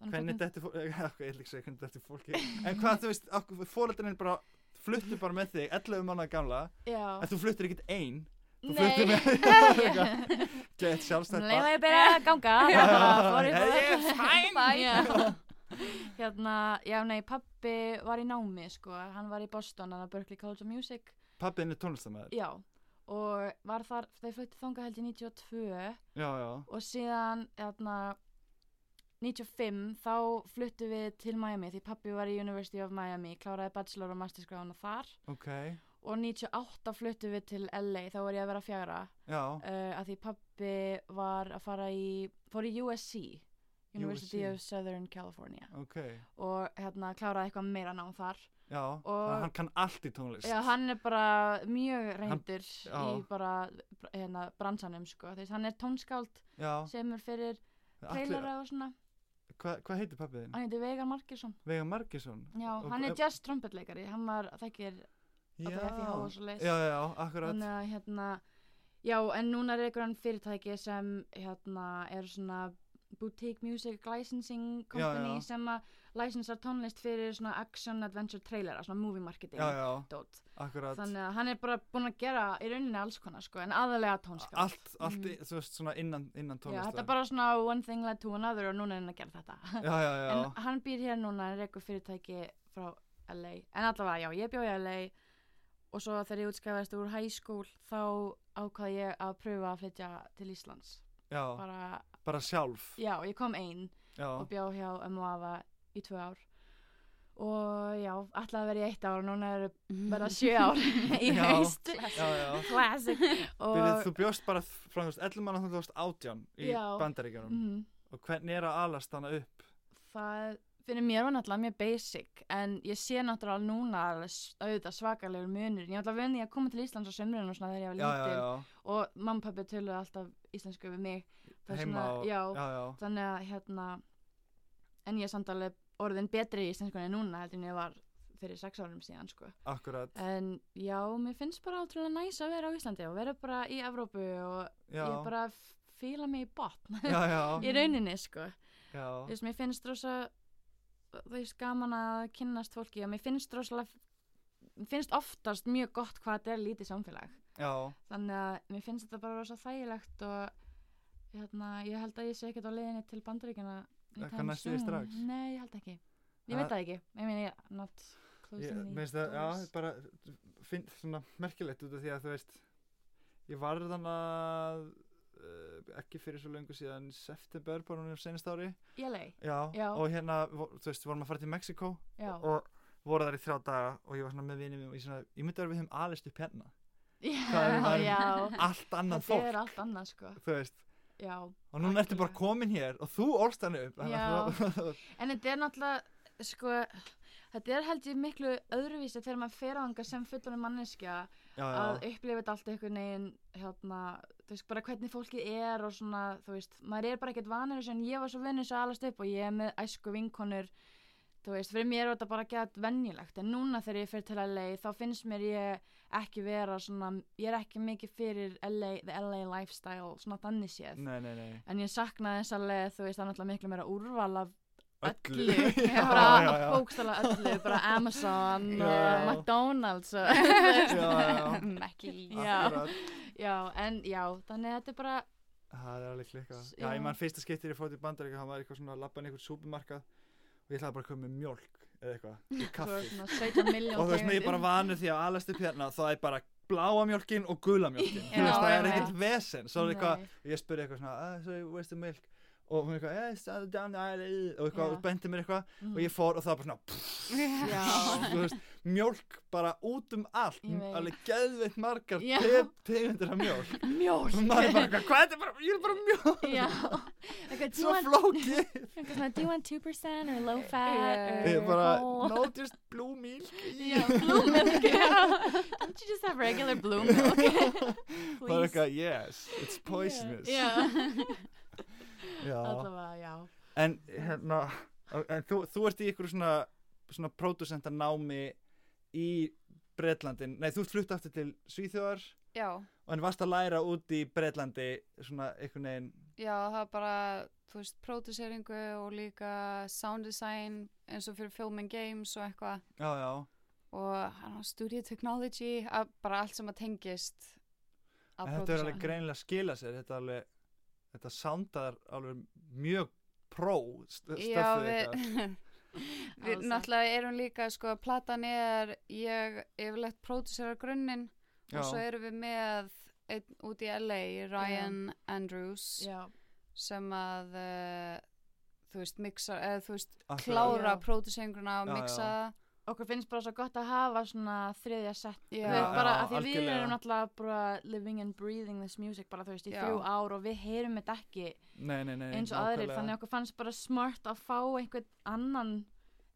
Speaker 3: Þannig
Speaker 2: hvernig
Speaker 3: byggum-
Speaker 2: þetta <laughs> fólki, ég ætla ekki að segja hvernig þetta fólki, en hvað þú veist, fóreldarinn bara fluttu bara með þig 11 mánuða gamla,
Speaker 3: Já
Speaker 2: en þú fluttur ekkit ein, þú
Speaker 3: Nei.
Speaker 2: fluttur með <laughs>
Speaker 3: Nei.
Speaker 2: gett
Speaker 3: Um
Speaker 2: sjálfstætt
Speaker 3: leið og
Speaker 2: barn.
Speaker 3: ég byrjaði að ganga
Speaker 2: Já.
Speaker 3: bara fór ég
Speaker 2: Hey,
Speaker 3: bara-
Speaker 2: yeah, fine.
Speaker 3: Bye.
Speaker 2: <laughs>
Speaker 3: Hérna, já nei, pappi var í námi sko, hann var í Boston, hann var Berkeley College of Music
Speaker 2: Pabbiðinn er tónlistamæður,
Speaker 3: Já, og var þar, þau fluttu þangað held ég 92
Speaker 2: já, já,
Speaker 3: og síðan hérna 95 þá fluttu við til Miami því pappi var í University of Miami kláraði bachelor og masterskrána þar
Speaker 2: ok,
Speaker 3: og 98 fluttu við til LA þá var ég að vera fjara
Speaker 2: já.
Speaker 3: uh, að því pappi var að fara í fór í USC University
Speaker 2: USC.
Speaker 3: of Southern California
Speaker 2: Ok,
Speaker 3: og hérna kláraði eitthvað meira nám þar
Speaker 2: já, þannig að hann kann allt í tónlist
Speaker 3: Já, hann er bara mjög reyndur
Speaker 2: já.
Speaker 3: í bara hérna, bransanum sko, þess hann er tónskáld
Speaker 2: Já,
Speaker 3: sem er fyrir
Speaker 2: allir,
Speaker 3: trailara og svona
Speaker 2: hvað hva heitir pappið þinn?
Speaker 3: hann heitir Veigar Markinsson
Speaker 2: Veigar Margesson
Speaker 3: Já,
Speaker 2: Og-
Speaker 3: hann er
Speaker 2: og-
Speaker 3: jazz trompetleikari hann var, þekkir
Speaker 2: Já,
Speaker 3: Alla FIH og svoleiðis.
Speaker 2: já, já, akkurat
Speaker 3: þannig að hérna já, en núna er einhverjan fyrirtæki sem hérna er svona boutique music licensing company
Speaker 2: já.
Speaker 3: sem að licensar tónlist fyrir svona action adventure trailera, svona movie marketing
Speaker 2: Já, já,
Speaker 3: dót.
Speaker 2: akkurat
Speaker 3: þannig að hann er bara búinn að gera í rauninni alls konar sko, en aðalega tónskáld
Speaker 2: Allt, allt, í- þú veist, svona innan, innan
Speaker 3: Mm. já,
Speaker 2: tónlistar
Speaker 3: þetta er bara svona one thing led to another og núna er hann að gera þetta
Speaker 2: Já, já, já,
Speaker 3: en hann býr hér núna hann reykur fyrirtæki frá LA en allavega já, ég bjó í LA og svo þegar ég útskæfast úr high school þá ákvað ég að pröfa að flytja til Íslands
Speaker 2: já, bara,
Speaker 3: bara,
Speaker 2: sjálf
Speaker 3: já, ég kom ein
Speaker 2: Já,
Speaker 3: og bjó hjá MOAVA í tvö ár og já, alltaf að vera í eitt ár og núna eru
Speaker 4: <laughs>
Speaker 3: bara sjö
Speaker 2: <laughs>
Speaker 3: ár <laughs> í
Speaker 2: Já.
Speaker 3: haust
Speaker 2: já, já
Speaker 3: classic
Speaker 2: Byrjuð,
Speaker 3: og
Speaker 2: Þú bjóst bara f- frá, þú veist, 11 manna þú veist átján í
Speaker 3: Já.
Speaker 2: bandaríkjunum
Speaker 3: mm,
Speaker 2: Og hvernig er að alast hana upp?
Speaker 3: það fyrir mér var náttúrulega mjög basic en ég sé náttúrulega núna alveg s- auðvitað svakalegur munur ég var náttúrulega venni að koma til Íslands á sömrun og svona þegar ég var
Speaker 2: Já, já,
Speaker 3: lítil
Speaker 2: já,
Speaker 3: og mamma og pappi töluðu alltaf íslensku við mig Það er
Speaker 2: heima
Speaker 3: svona-
Speaker 2: og,
Speaker 3: já.
Speaker 2: já, já
Speaker 3: þannig að hérna en ég er samt alveg orðin betri í íslenskunni núna heldur en ég var fyrir sex árum síðan sko
Speaker 2: Akkurat,
Speaker 3: en já, mér finnst bara ótrúlega næs að vera á Íslandi og vera bara í Evrópu og
Speaker 2: já,
Speaker 3: ég bara f- fíla mig í botn
Speaker 2: já,
Speaker 3: <laughs>
Speaker 2: já,
Speaker 3: í rauninni sko
Speaker 2: já.
Speaker 3: Þú veist, mér finnst rosa þú veist, gaman að kynnast fólki og mér finnst rosalega mér finnst oftast mjög gott hvað þetta er lítið samfélag
Speaker 2: Já,
Speaker 3: þannig að mér finnst þetta bara rosa þægilegt og hérna, ég held að ég sé ekkert á leiðinni til bandaríkina
Speaker 2: Eitthvað næstu því strax?
Speaker 3: Nei, ég held ekki Ég
Speaker 2: Það-
Speaker 3: veit það ekki, ég meina ég not
Speaker 2: Ég-
Speaker 3: closing
Speaker 2: mér finnst það, já, ég bara finn svona merkilegt út af því að þú veist ég var þannig að uh, ekki fyrir svo löngu síðan í september bara núna um senast ári
Speaker 3: Ég lei,
Speaker 2: já,
Speaker 3: Já.
Speaker 2: og hérna, vo- þú veist, vorum að fara til Mexiko
Speaker 3: já
Speaker 2: og voru þar í þrjá daga og ég var svona með vinið mínum og ég svona, ég myndi að við höfum alist upp hérna Hvað er
Speaker 3: <laughs> Já,
Speaker 2: maður-
Speaker 3: já
Speaker 2: allt annað
Speaker 3: Þetta
Speaker 2: fólk,
Speaker 3: er allt annað sko
Speaker 2: þú veist
Speaker 3: Já,
Speaker 2: og núna ertu bara
Speaker 3: Algjörlega.
Speaker 2: komin hér og þú ólst hann upp þannig að þú-
Speaker 3: En þetta er náttúrulega, sko, þetta er held ég miklu öðruvísi þegar maður fer á þangað sem fullonum manneskja
Speaker 2: <laughs> já,
Speaker 3: að
Speaker 2: já,
Speaker 3: upplifa þetta allt einhvern veginn, hérna, þú veist, bara hvernig fólkið er og svona, þú veist, maður er bara ekkert vanur þessu en ég var svo vennið þessu alast upp og ég er með æsku vinkonur, þú veist, fyrir mér var þetta bara gett venjulegt en núna þegar ég fer til LA þá finnst mér ég ekki vera svona, ég er ekki mikið fyrir LA, the LA lifestyle, svona þannig séð.
Speaker 2: nei, nei, nei
Speaker 3: En ég saknaði þess alveg, þú veist, það er náttúrulega miklu meira úrval af öllu,
Speaker 2: <laughs> já,
Speaker 3: bara
Speaker 2: já, já.
Speaker 3: bókstala öllu, bara Amazon
Speaker 2: Já,
Speaker 3: og
Speaker 2: já.
Speaker 3: McDonalds og,
Speaker 2: já, já,
Speaker 3: <laughs>
Speaker 4: Ekki
Speaker 3: Já.
Speaker 2: akkurat
Speaker 3: <laughs> já, en já, þannig að þetta er bara
Speaker 2: Það er alveg klikka.
Speaker 3: S-
Speaker 2: Já,
Speaker 3: já.
Speaker 2: ég man fyrsta skiptir ég fótt í bandaríka, það var eitthvað svona labban einhvern súpermarkað og ég ætlaði bara að koma með mjólk eða eitthvað í
Speaker 3: <laughs> svo
Speaker 2: kaffi.
Speaker 3: svona 17
Speaker 2: og
Speaker 3: miljón
Speaker 2: þú veist, mér er bara vanur því að alast upp hérna, það er bara bláa mjólkin og gula mjólkin. Þú
Speaker 3: Já,
Speaker 2: veist, það er
Speaker 3: einmitt.
Speaker 2: ekkert vesen. Svo er eitthvað, ég spurði eitthvað svona, ah, sorry, where's the milk? og hún er eitthvað, yeah, settle down the alley og eitthvað,
Speaker 3: Já.
Speaker 2: og bendi mér eitthvað
Speaker 3: Mm.
Speaker 2: og ég fór og það var bara svona
Speaker 4: Já.
Speaker 3: Já.
Speaker 2: þú veist, mjólk bara út um allt
Speaker 3: Ég veit.
Speaker 2: alveg geðveitt margar
Speaker 3: Já.
Speaker 2: te- tegundir af mjólk og
Speaker 3: Mjólk.
Speaker 2: maður er bara, eitthvað, hvað er þetta bara, ég er bara mjólk
Speaker 3: <laughs> Já. Eitthvað, do you
Speaker 2: svo
Speaker 3: want-
Speaker 2: flókið
Speaker 3: eitthvað svona, do you want 2% or low
Speaker 4: Já.
Speaker 3: fat
Speaker 2: Ég
Speaker 3: or
Speaker 2: er bara,
Speaker 3: whole?
Speaker 2: no just blue milk
Speaker 3: Já, blue
Speaker 2: <laughs>
Speaker 3: milk. Don't you just have regular blue milk?
Speaker 2: bara
Speaker 3: Please.
Speaker 2: eitthvað, yes, it's <laughs> poisonous <laughs>
Speaker 3: Já.
Speaker 2: Já.
Speaker 3: Allavega, já. <laughs>
Speaker 2: en hérna en þú, þú ert í ykkur svona svona pródusentanámi í Bretlandin, nei þú ert flutt aftur til Svíþjóðar
Speaker 4: Já,
Speaker 2: og en varst að læra út í Bretlandi svona einhvern veginn
Speaker 4: já, það er bara, þú veist, próduseringu og líka sound design eins og fyrir filming games og eitthvað
Speaker 2: já já,
Speaker 4: og hann á studio technology, að, bara allt sem að tengist að
Speaker 2: en þetta er
Speaker 4: pródúsera.
Speaker 2: alveg greinilega að skila sér þetta er alveg, þetta soundar alveg mjög pró st-
Speaker 4: Já,
Speaker 2: stöffið
Speaker 4: við,
Speaker 2: ykkar.
Speaker 4: <laughs> við
Speaker 3: Alls
Speaker 4: náttúrulega erum líka, sko, platan er, ég yfirlegt pródúsera grunninn
Speaker 2: Já.
Speaker 4: og svo erum við með einn út í LA, Ryan Andrews,
Speaker 3: Já,
Speaker 4: sem að, eh, þú veist, mixa, eða þú veist,
Speaker 2: Akkurat.
Speaker 4: klára
Speaker 3: Já.
Speaker 4: pródúseringruna og
Speaker 2: Já,
Speaker 4: mixa það.
Speaker 3: okkur finnst bara svo gott að hafa svona þriðja sett
Speaker 4: Já.
Speaker 3: Þú veist, bara
Speaker 2: Já,
Speaker 3: að því við
Speaker 2: algjörlega.
Speaker 3: erum náttúrulega bara living and breathing this music bara þú veist í
Speaker 4: Já.
Speaker 3: þrjú ár og við heyrum þetta ekki
Speaker 2: nei, nei, nei,
Speaker 3: eins og aðrir
Speaker 2: nákvæmlega.
Speaker 3: þannig að okkur fannst bara smart að fá einhvern annan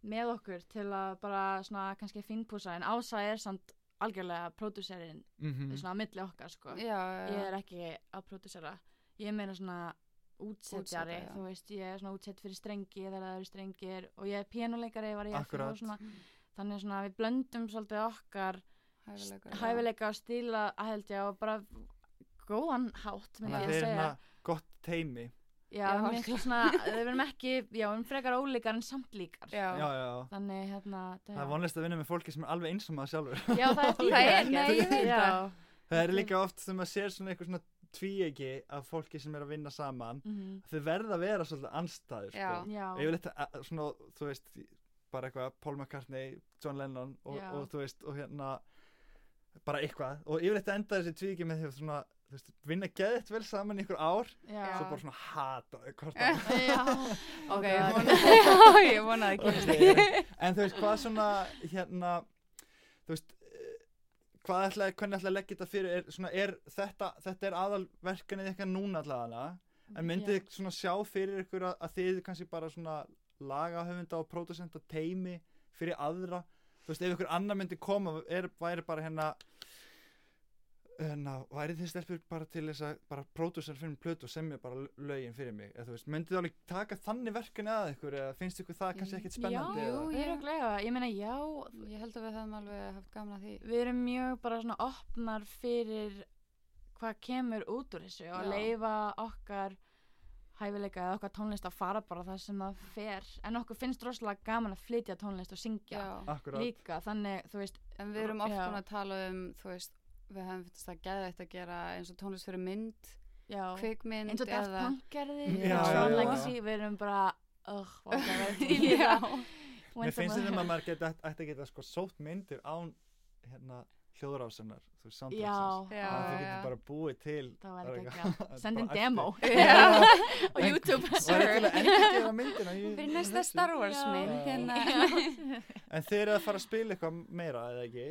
Speaker 3: með okkur til að bara svona kannski finnpúsa en Ása er samt algjörlega pródúserinn
Speaker 2: Mhm.
Speaker 3: svona á milli okkar sko
Speaker 4: Já,
Speaker 3: ég er ekki að pródúsera ég er meira svona útsetjari
Speaker 4: Útsetja, já.
Speaker 3: þú veist, ég er svona útsett fyrir strengi þegar það eru strengir og ég er píanuleikari var ég ekki
Speaker 2: Akkurat.
Speaker 3: og svona, þannig svona við blöndum svolítið okkar
Speaker 4: hæfileika.
Speaker 3: hæfileika og stíla að held ég og bara góðan hátt myndi
Speaker 2: þannig að þeir
Speaker 3: ég að
Speaker 2: eru
Speaker 3: segja
Speaker 2: hérna gott teimi
Speaker 3: já,
Speaker 4: Já,
Speaker 3: mér finnst svona, við erum ekki já, við erum frekar ólíkar en samt líkar
Speaker 4: Já,
Speaker 2: já, já, já.
Speaker 3: þannig hérna
Speaker 2: það er vonlist að vinna með fólki sem er alveg eins og maður sjálfur
Speaker 3: já,
Speaker 2: <laughs>
Speaker 3: það er
Speaker 4: Það er-
Speaker 3: ekki.
Speaker 4: nei, ég veit
Speaker 3: Já.
Speaker 4: það.
Speaker 2: Það er
Speaker 3: Þetta er-
Speaker 2: líka oft sem maður sér svona eitthvað svona tvíegi af fólki sem er að vinna saman
Speaker 3: Mhm.
Speaker 2: þau verða að vera svolítið anstæður sko.
Speaker 4: Já.
Speaker 3: já,
Speaker 2: ég vil eitthvað svona, þú veist bara eitthvað Paul McCartney, John Lennon og,
Speaker 3: Já.
Speaker 2: og þú veist, og hérna bara eitthvað, og ég vil eitthvað enda þessi tvíegi með því að svona, þú veist, vinna geðitt vel saman í ykkur ár,
Speaker 3: já.
Speaker 2: svo bara svona hata þau
Speaker 4: <laughs>
Speaker 2: hvort annað.
Speaker 3: já.
Speaker 4: <laughs> ok,
Speaker 3: Já.
Speaker 4: ég <laughs> vona- ég vona það ekki.
Speaker 2: Ok. en þú veist, hvað svona hérna, þú veist eh, hvað ætlaði, hvernig ætlaði að leggja þetta fyrir er, svona, er þetta, þetta er aðalverkanið eitthvað núna allavega <laughs> En myndið þið svona sjá fyrir ykkur að, að þið kannski bara svona lagahöfunda og pródusenta teimi fyrir aðra þú veist ef ykkur annar myndi koma er, væri bara hérna hérna, væri þið stelpur bara til þess að bara pródusent fyrir mig plötu og semja bara l- lögin fyrir mig, eða þú veist, myndið þið alveg taka þannig verkefni að ykkur eða finnst ykkur það kannski ekkit spennandi eða?
Speaker 3: já, jú, örugglega. ég meina já,
Speaker 4: Ég held að við höfum alveg haft gaman að því.
Speaker 3: við erum mjög bara svona opnar fyrir hvað kemur út úr þessu og
Speaker 4: Já.
Speaker 3: leifa okkar hæfileika eða okkar tónlist að fara bara það sem það fer en okkur finnst rosalega gaman að flytja tónlist og syngja
Speaker 4: Já.
Speaker 2: Akkurat,
Speaker 3: líka þannig þú veist
Speaker 4: En við erum oft
Speaker 3: Já.
Speaker 4: búin að tala um, þú veist, við hefum finnst það geðið að gera eins og tónlist fyrir mynd,
Speaker 3: já,
Speaker 4: kvikmynd
Speaker 3: eins og Daft
Speaker 4: eða...
Speaker 3: Punk gerði
Speaker 2: Já,
Speaker 3: já,
Speaker 4: já, já.
Speaker 3: Legacy, við erum bara oh,
Speaker 4: <laughs> Já,
Speaker 2: mér finnst þetta að maður geta, ætti að geta sko sótt myndir án hérna hljóðrásunar, þú veist, soundtracksins
Speaker 3: já,
Speaker 4: Já,
Speaker 2: að þið
Speaker 3: já.
Speaker 2: getur bara búið til
Speaker 3: það
Speaker 2: bara
Speaker 3: væri
Speaker 2: eitthvað-
Speaker 3: ekki
Speaker 2: bara
Speaker 3: ekki sendin
Speaker 2: ætti-
Speaker 3: demo
Speaker 4: <laughs> <laughs> Já.
Speaker 3: <laughs> á YouTube
Speaker 2: Var ég til að enda
Speaker 3: <laughs>
Speaker 2: gera myndina í-
Speaker 4: fyrir
Speaker 2: í
Speaker 4: næsta
Speaker 2: þessu?
Speaker 4: Star Wars
Speaker 3: Já.
Speaker 4: mynd,
Speaker 2: Já.
Speaker 4: hérna. <laughs>
Speaker 2: En þeir eru að fara að spila eitthvað meira eða ekki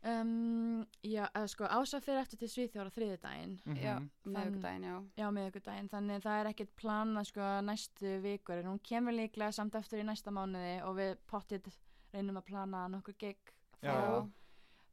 Speaker 3: um, já, eða sko Ása fyrir eftir til Svíþjóra þriðudaginn
Speaker 4: Já,
Speaker 2: Mhm.
Speaker 4: meðugdæin, já.
Speaker 3: Já, miðugudaginn, þannig það er ekkert planað sko næstu vikur en hún kemur líklega samt eftir í næsta mánuði og við pottið reynum að plana nokkur gig
Speaker 2: Já.
Speaker 3: þá.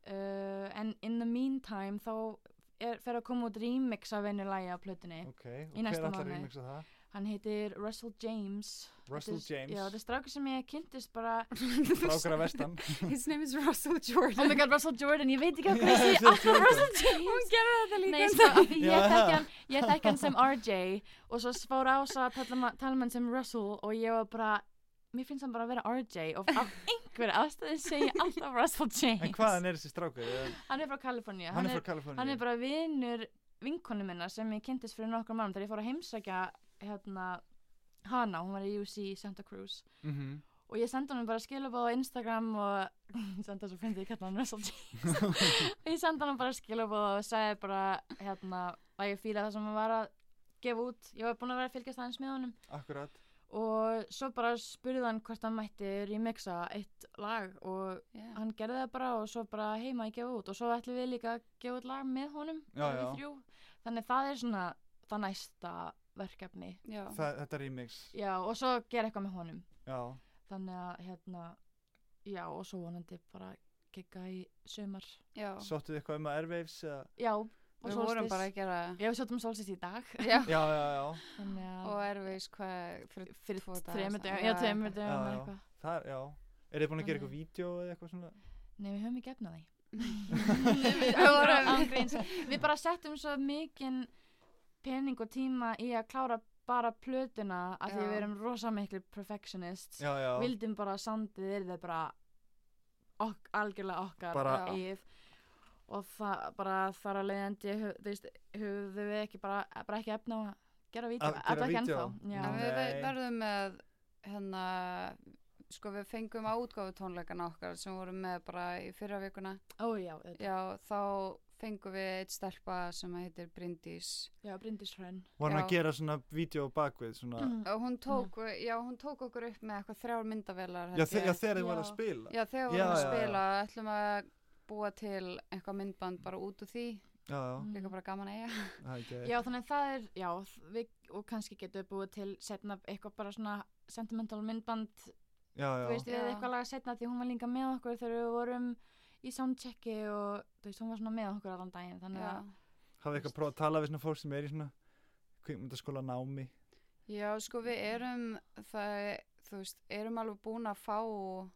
Speaker 3: Uh, en in the meantime þá er, fer að koma út remix af einu lægi á plötunni.
Speaker 2: Ok, og
Speaker 3: Í næsta
Speaker 2: hver allar
Speaker 3: mánuði.
Speaker 2: remixa það?
Speaker 3: Hann heitir Russell James.
Speaker 2: Russell
Speaker 3: Þetta er- Já, þetta
Speaker 2: James,
Speaker 3: er strákur sem ég kynntist bara
Speaker 2: frákara vestan
Speaker 4: His name is Russell
Speaker 3: <laughs> Oh
Speaker 4: <laughs> Jordan.
Speaker 3: my god, Russell Jordan, ég veit
Speaker 2: <laughs>
Speaker 3: ekki hvað ég segi
Speaker 2: Russell
Speaker 3: alltaf Russell James.
Speaker 4: Hún gerði þetta líka. um
Speaker 3: Nei, sko,
Speaker 4: <laughs>
Speaker 3: af því
Speaker 2: Já.
Speaker 3: ég þekki hann, ég þekki hann sem RJ og svo fór Ása að tala ma- tala um hann sem Russell og ég var bara, mér finnst hann bara að vera RJ og af einhverju aðstæði segi ég alltaf Russell James.
Speaker 2: En hvaðan er þessi strákur? Eða-
Speaker 3: Hann er frá Kaliforníu,
Speaker 2: Hann er frá Kaliforníu
Speaker 3: hann er bara vinur vinkonu minna sem ég kynntist fyrir nokkur mannum þegar ég fór að heimsækja hérna, hana, hún var í UC Santa Cruz
Speaker 2: Mhm.
Speaker 3: og ég sendi hann bara skilabóð á Instagram og <laughs> ég sendi hann svo fyndi, ég kalla hann
Speaker 2: <laughs>
Speaker 3: Russell James og ég sendi hann bara skilabóð og sagði bara hérna að ég fíla það sem hann var að gefa út, ég var búin að vera að fylgjast aðeins með honum
Speaker 2: akkurat
Speaker 3: og svo bara spurði hann hvort hann mætti remixa eitt lag og
Speaker 4: Já.
Speaker 3: hann gerði það bara og svo bara heima að gefa út og svo ætlum við líka að gefa út lag með honum
Speaker 2: Já,
Speaker 3: við
Speaker 2: já.
Speaker 3: þrjú. þannig það er svona það næsta verkefni
Speaker 4: Já.
Speaker 2: Þa, þetta remix
Speaker 3: já, og svo gera eitthvað með honum
Speaker 2: já,
Speaker 3: þannig að hérna já og svo vonandi bara kikka í sömar
Speaker 4: Já.
Speaker 2: sóttu þið eitthvað um að Airwaves eða...
Speaker 3: já, og
Speaker 4: Við vorum
Speaker 3: Solstice.
Speaker 4: bara að gera
Speaker 3: já við sjóttum solstist í dag
Speaker 4: Já.
Speaker 2: já, já, já,
Speaker 3: þannig að
Speaker 4: <laughs> og erfiðis hvað fyrir,
Speaker 3: fyrir
Speaker 4: tvo daga
Speaker 3: þreimur
Speaker 4: síðan.
Speaker 3: dögum já, þreimur
Speaker 2: Já,
Speaker 3: dögum
Speaker 2: já.
Speaker 3: eða eitthvað
Speaker 2: það, já er þið búin að gera
Speaker 3: Þannig-
Speaker 2: eitthvað vídeo eða eitthvað svona
Speaker 3: nei, við höfum ekki efnað því
Speaker 4: Við
Speaker 3: Við vorum
Speaker 4: vorum-
Speaker 3: ángríns. Við bara settum svo mikinn pening og tíma í að klára bara plötuna af því
Speaker 4: Já.
Speaker 3: við erum rosa miklu perfectionists
Speaker 2: já, já,
Speaker 3: vildum bara að sandið er það bara ok, algjörlega okkar
Speaker 2: Bara-
Speaker 4: Já.
Speaker 3: eigið og það bara þar að leiðandi hö- þú veist, höfðu við ekki bara, bara ekki efna á að gera vídeo,
Speaker 2: Að gera Mm.
Speaker 3: allavega ekki
Speaker 2: vídeó.
Speaker 3: ennþá. Já.
Speaker 4: En
Speaker 2: Nei.
Speaker 4: við ve- verðum með hérna sko við fengum á útgáfu tónleikana okkar sem vorum með bara í fyrra vikuna
Speaker 3: Ó já, auðvitað.
Speaker 4: já þá fengum við eitt stelpa sem að heitir Bryndís
Speaker 3: já, Bryndís Hrönn
Speaker 2: vorum að
Speaker 4: já.
Speaker 2: gera svona vídeo bakvið svona,
Speaker 3: Mm.
Speaker 4: og hún tók, já, hún tók okkur upp með eitthvað þrjár myndavélar
Speaker 2: já,
Speaker 4: held
Speaker 2: þe
Speaker 4: ég.
Speaker 2: já, þegar þið voru að
Speaker 3: Já.
Speaker 2: spila
Speaker 4: já
Speaker 2: Já,
Speaker 4: þegar vorum
Speaker 2: já,
Speaker 4: að
Speaker 2: já.
Speaker 4: spila ætlum að búa til eitthvað myndband bara út úr því
Speaker 2: já, já,
Speaker 4: líka bara gaman að eiga
Speaker 2: það er ekki
Speaker 3: Mm. Já, þannig að það er, já, þ- við, og kannski getum við búið til setna eitthvað bara svona sentimental myndband,
Speaker 2: já,
Speaker 3: þú veist,
Speaker 2: já,
Speaker 3: við
Speaker 4: Já.
Speaker 3: eitthvað laga setna því hún var líka með okkur þegar við vorum í soundchecki og, þú veist, hún var svona með okkur allan daginn, þannig
Speaker 4: já.
Speaker 3: að,
Speaker 2: hafið eitthvað prófað að tala við svona fólk sem er í svona kvikmyndaskóla námi
Speaker 4: já sko við erum það, þú veist, erum alveg búin að fá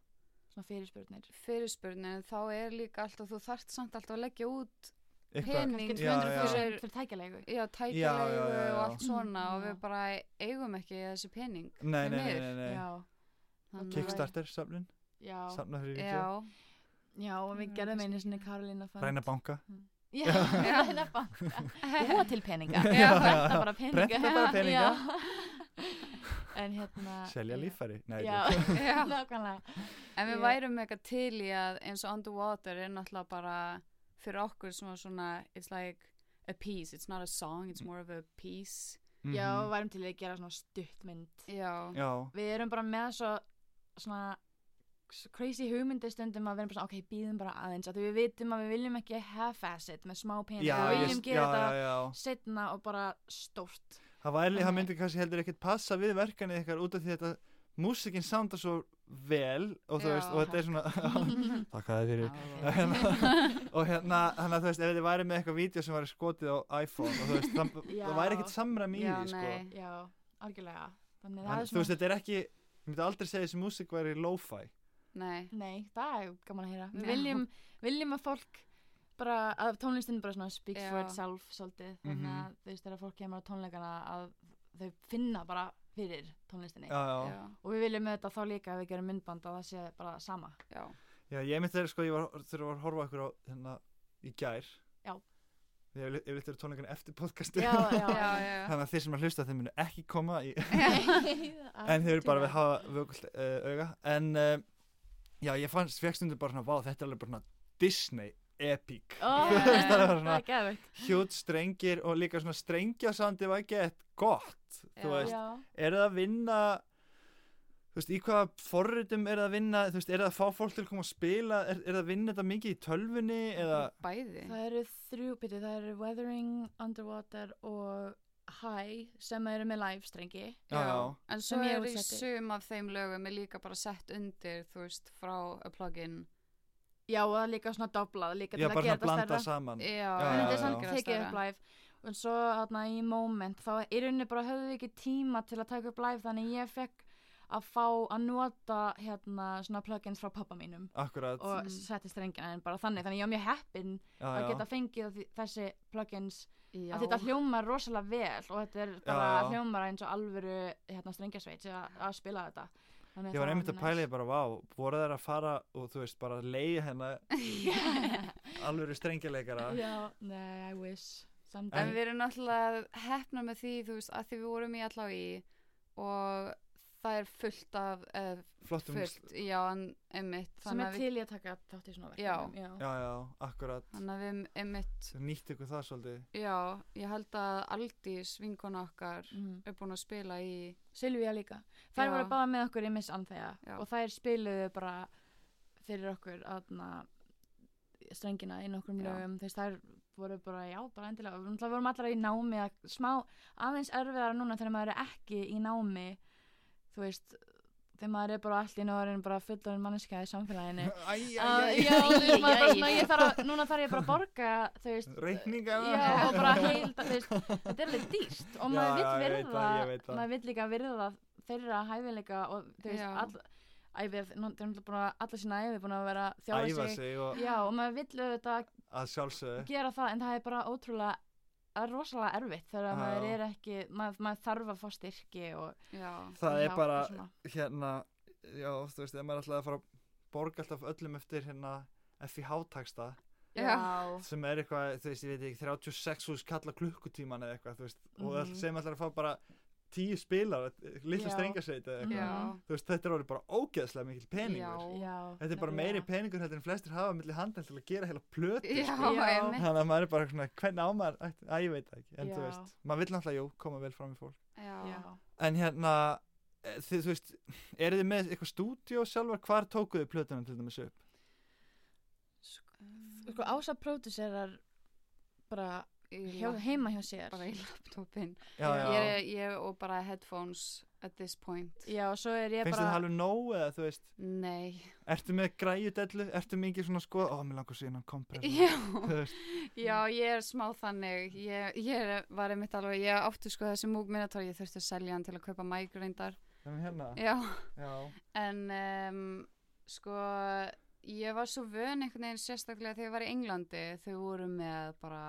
Speaker 3: svona fyrirspurnir.
Speaker 4: fyrirspurnin en þá er líka alltaf, þú þarft samt alltaf að leggja út
Speaker 2: eitthvað,
Speaker 4: pening
Speaker 3: Kannski
Speaker 2: Já,
Speaker 3: 200
Speaker 2: já.
Speaker 3: fyrir, fyrir tækjalegu.
Speaker 4: já,
Speaker 2: Já,
Speaker 4: tækilegu
Speaker 2: já, já, já.
Speaker 4: og allt svona
Speaker 3: Mm,
Speaker 4: og
Speaker 3: já.
Speaker 4: við bara eigum ekki þessi pening
Speaker 2: nei, nei, nei,
Speaker 4: miður.
Speaker 2: nei, nei.
Speaker 3: Já,
Speaker 4: Þannig að-
Speaker 2: Kickstarter safnin,
Speaker 3: já,
Speaker 2: safna fyrir vídeo
Speaker 4: já,
Speaker 3: já, og við
Speaker 4: Mm,
Speaker 3: gerðum
Speaker 4: kannski.
Speaker 3: einu sinni Karolina Fund.
Speaker 2: ræna banka
Speaker 3: Já, <laughs> ræna banka. Búa til <laughs> peninga.
Speaker 4: Já.
Speaker 3: Prenta bara peninga.
Speaker 2: Prenta bara peninga.
Speaker 3: Já.
Speaker 2: <laughs>
Speaker 3: En hérna.
Speaker 2: selja
Speaker 3: já.
Speaker 2: líffæri nei,
Speaker 3: Já,
Speaker 2: ég-
Speaker 3: <laughs>
Speaker 4: Já.
Speaker 3: nákvæmlega.
Speaker 4: <laughs> en við
Speaker 3: Ég-
Speaker 4: værum eitthvað til í að eins og Underwater er náttúrulega bara fyrir okkur sem var svona it's like a piece, it's not a song it's more of a piece
Speaker 3: Já,
Speaker 2: Mhm.
Speaker 3: við værum til í að gera svona stuttmynd.
Speaker 4: já,
Speaker 2: já,
Speaker 3: Við erum bara með svo, svona s- crazy hugmyndi stundum að við erum bara svona, ok, býðum bara aðeins. Af Því við vitum að við viljum ekki half-ass it með smá pening.
Speaker 2: já,
Speaker 3: við
Speaker 2: ég- já,
Speaker 3: viljum gera
Speaker 2: já,
Speaker 3: þetta
Speaker 2: já.
Speaker 3: setna og bara stórt.
Speaker 2: Það, væri, það
Speaker 3: Þannig-
Speaker 2: myndi kannski heldur ekkert passa við verkanið ykkar út af því þetta músikinn soundar svo vel og þú
Speaker 4: Já,
Speaker 2: veist, og þetta er svona
Speaker 3: <laughs>
Speaker 2: þakka þið fyrir
Speaker 3: Já, <laughs>
Speaker 2: og hérna, þannig að þú veist, ef þið væri með eitthvað vídeo sem væri skotið á iPhone og þú veist, það,
Speaker 3: Já.
Speaker 2: það væri ekkert samræmi í
Speaker 4: já,
Speaker 2: því sko.
Speaker 4: nei
Speaker 3: já, algjörlega. Þannig það
Speaker 2: en,
Speaker 3: er
Speaker 2: þú
Speaker 3: svona,
Speaker 2: veist, þetta er ekki ég myndi aldrei segja þessi músik væri lo-fi
Speaker 3: E-
Speaker 4: nei,
Speaker 3: nei, það er gaman að heyra. Við
Speaker 4: Já.
Speaker 3: viljum, viljum að fólk bara, að tónlistin bara svona speaks for
Speaker 4: Já.
Speaker 3: itself svolítið. Þannig
Speaker 2: Mhm.
Speaker 3: að þú veist, þegar fólk kemur á tónleikana að þau finna bara fyrir tónlistinni.
Speaker 2: já, já,
Speaker 4: já,
Speaker 3: og við viljum þetta þá líka að við gerum myndband að það sé bara sama
Speaker 4: já,
Speaker 2: Já, ég myndi þegar sko, ég var, þegar ég var að horfa okkur á hérna í gær.
Speaker 3: Já.
Speaker 2: Ég vil yfirleitt vera tónleikana eftir podcastu.
Speaker 3: <laughs> já, já,
Speaker 4: já,
Speaker 3: <laughs>
Speaker 2: <laughs>
Speaker 4: já.
Speaker 2: Þannig að þeir sem að hlusta þeir munu ekki koma í,
Speaker 3: en
Speaker 2: en þeir eru bara við hafa vökult uh, auga. En uh, já, ég fannst fjöxtundu bara svona, vá, þetta er alveg bara svona Disney epic. <laughs>
Speaker 3: oh,
Speaker 4: Þú veist,
Speaker 2: það er bara
Speaker 3: það
Speaker 2: svona-
Speaker 3: er geðvikt
Speaker 2: Hjút strengir og líka svona strengjasandi var gett gott,
Speaker 4: Já.
Speaker 2: þú veist.
Speaker 3: já,
Speaker 2: Er það að vinna, þú veist, í hvaða forritum er það að vinna, þú veist, er það að fá fólk til að koma að spila, er, er það að vinna þetta mikið í tölvunni eða...
Speaker 4: bæði
Speaker 3: það eru þrjú byrju, það eru Weathering, Underwater og High sem eru með live strengi
Speaker 2: Já, já.
Speaker 4: en
Speaker 3: Sem
Speaker 4: svo
Speaker 3: ég
Speaker 4: er í
Speaker 3: útsetti.
Speaker 4: sum af þeim lögum er líka bara sett undir þú veist, frá a plugin
Speaker 3: já og það er líka svona doblað líka
Speaker 2: Já,
Speaker 3: til
Speaker 2: bara
Speaker 3: að
Speaker 2: svona
Speaker 3: gera þetta
Speaker 2: blanda
Speaker 3: stærra
Speaker 2: saman
Speaker 4: já,
Speaker 3: en
Speaker 2: já,
Speaker 3: þetta
Speaker 2: já,
Speaker 3: er samt
Speaker 2: já.
Speaker 3: tekið upp live og svo þarna í moment þá í rauninni bara höfðu við ekki tíma til að taka upp live þannig ég fekk að fá að nota hérna svona plugins frá pappa mínum
Speaker 2: Akkurat
Speaker 3: og
Speaker 4: Mm.
Speaker 3: setti strengina en bara þannig þannig ég var mjög heppin
Speaker 2: já,
Speaker 3: að
Speaker 2: já.
Speaker 3: geta fengið því- þessi plugins
Speaker 4: já.
Speaker 3: að þetta hljómar rosalega vel og þetta er bara
Speaker 2: já.
Speaker 3: hljómar eins og alvöru hérna, strengjasveit að, að spila þetta þannig,
Speaker 2: Ég var einmitt að pæla ég bara, vá, voru þær að fara og þú veist, bara leiði
Speaker 3: <laughs>
Speaker 2: hennar alvöru strengjuleikara
Speaker 3: já, nei, I wish Someday.
Speaker 4: En við erum náttúrulega hefnar með því, þú veist, að því við vorum í allá í og það er fullt af uh,
Speaker 2: flottum
Speaker 4: fullt, já, en einmitt
Speaker 3: sem
Speaker 4: þannig
Speaker 3: er
Speaker 4: að, við,
Speaker 3: til í að taka þátt í svona verkefnum já.
Speaker 2: já, já, akkurat,
Speaker 4: þannig að við einmitt
Speaker 2: nýtt ykkur það svolítið
Speaker 3: <laughs>
Speaker 4: já, ég held að Aldís vinkona okkar
Speaker 3: Mhm.
Speaker 4: er búin að spila í
Speaker 3: Silvía líka þær
Speaker 4: Já.
Speaker 3: voru bara með okkur í Miss Anþega
Speaker 4: Já.
Speaker 3: og þær spiluðu bara fyrir okkur aðna, strengina í nokkrum
Speaker 4: Já.
Speaker 3: lögum þess þær voru bara, já, bara endilega og það vorum allra í námi að smá aðeins erfiðara núna þegar maður er ekki í námi þú veist þegar maður er bara allt í náðurinn bara fullorinn manneskja í samfélaginu
Speaker 2: Æ,
Speaker 3: að,
Speaker 2: æ, æ,
Speaker 3: já, þú veist, maður bara
Speaker 4: Æ, æ, æ.
Speaker 3: svona, ég þarf að, núna þarf ég bara að borga þú veist,
Speaker 2: reikninga
Speaker 3: Já,
Speaker 2: <laughs>
Speaker 3: og bara heild, þú veist, þetta er alveg dýrt og
Speaker 2: Já,
Speaker 3: maður
Speaker 2: já,
Speaker 3: vill
Speaker 2: ég veit
Speaker 3: virða,
Speaker 2: það, ég veit það.
Speaker 3: maður vill líka virða þeirra hæfileika og þú veist,
Speaker 4: Já.
Speaker 3: all, æfið, nú, þeir eru búin að alla sína æfið búin að vera að þjála
Speaker 2: æfa
Speaker 3: sig.
Speaker 2: sig Eh. og
Speaker 3: Já, og maður vill auðvitað
Speaker 2: að sjálfsögðu
Speaker 3: gera það, en það er bara ótrúlega, það er rosalega erfitt þegar
Speaker 2: Já.
Speaker 3: maður er ekki, maður, maður þarf að fá styrki og
Speaker 4: já,
Speaker 2: það er
Speaker 3: hjálp
Speaker 2: bara,
Speaker 3: og svona.
Speaker 2: hérna já, þú veist, ef maður ætlaði að fara að borga alltaf öllum eftir hérna FIH-taksta
Speaker 3: Já,
Speaker 2: sem er eitthvað, þú veist, ég veit ekki 36 hús kalla klukkutíman eða eitthvað, þú veist og
Speaker 3: Mhm.
Speaker 2: all, sem ætlar að fá bara 10 spilar, litla
Speaker 3: Já.
Speaker 2: strengasveit eða eitthvað,
Speaker 4: já,
Speaker 3: Mhm.
Speaker 2: þú veist, þetta er orðið bara ógeðslega mikil peningur,
Speaker 4: já,
Speaker 3: já.
Speaker 2: þetta er bara meiri
Speaker 3: nefnilega.
Speaker 2: peningur heldur en flestir hafa milli handan til að gera heila plötu,
Speaker 3: Mm.
Speaker 4: já,
Speaker 2: sko.
Speaker 3: Já.
Speaker 4: einmitt
Speaker 2: þannig að maður er bara svona, hvernig á maður ætti- að ég veit það ekki, en þú
Speaker 3: Já.
Speaker 2: veist maður vil náttúrulega, jú, koma vel fram í fólk
Speaker 4: já,
Speaker 3: Já.
Speaker 2: en hérna, eh, þið, þú veist eru þið með eitthvað stúdíó sjálfar hvar tókuðu plötunum til dæmis upp
Speaker 3: Sko, ása pródúserar bara
Speaker 4: Í
Speaker 3: hjá,
Speaker 4: lap-
Speaker 3: heima hjá sér.
Speaker 4: bara í laptopin
Speaker 2: já,
Speaker 3: Já.
Speaker 2: já,
Speaker 4: ég, er- ég og bara headphones at this point
Speaker 3: Já, og svo er ég
Speaker 2: finnst þið
Speaker 3: bara...
Speaker 2: það alveg nóg eða þú veist,
Speaker 4: nei,
Speaker 2: ertu með græjudellu ertu mikið svona sko, ó, mér langar síðan kompress
Speaker 4: <laughs> já
Speaker 2: þú veist,
Speaker 4: Já, ég er smá þannig, ég, ég er- var einmitt alveg, ég átti sko þessi múg minotaur, ég þurfti að selja hann til að kaupa mægreindar,
Speaker 2: þannig hérna
Speaker 4: já,
Speaker 2: já,
Speaker 4: en um, sko, ég var svo vön einhvern veginn sérstaklega þegar ég var í Englandi, þau voru með bara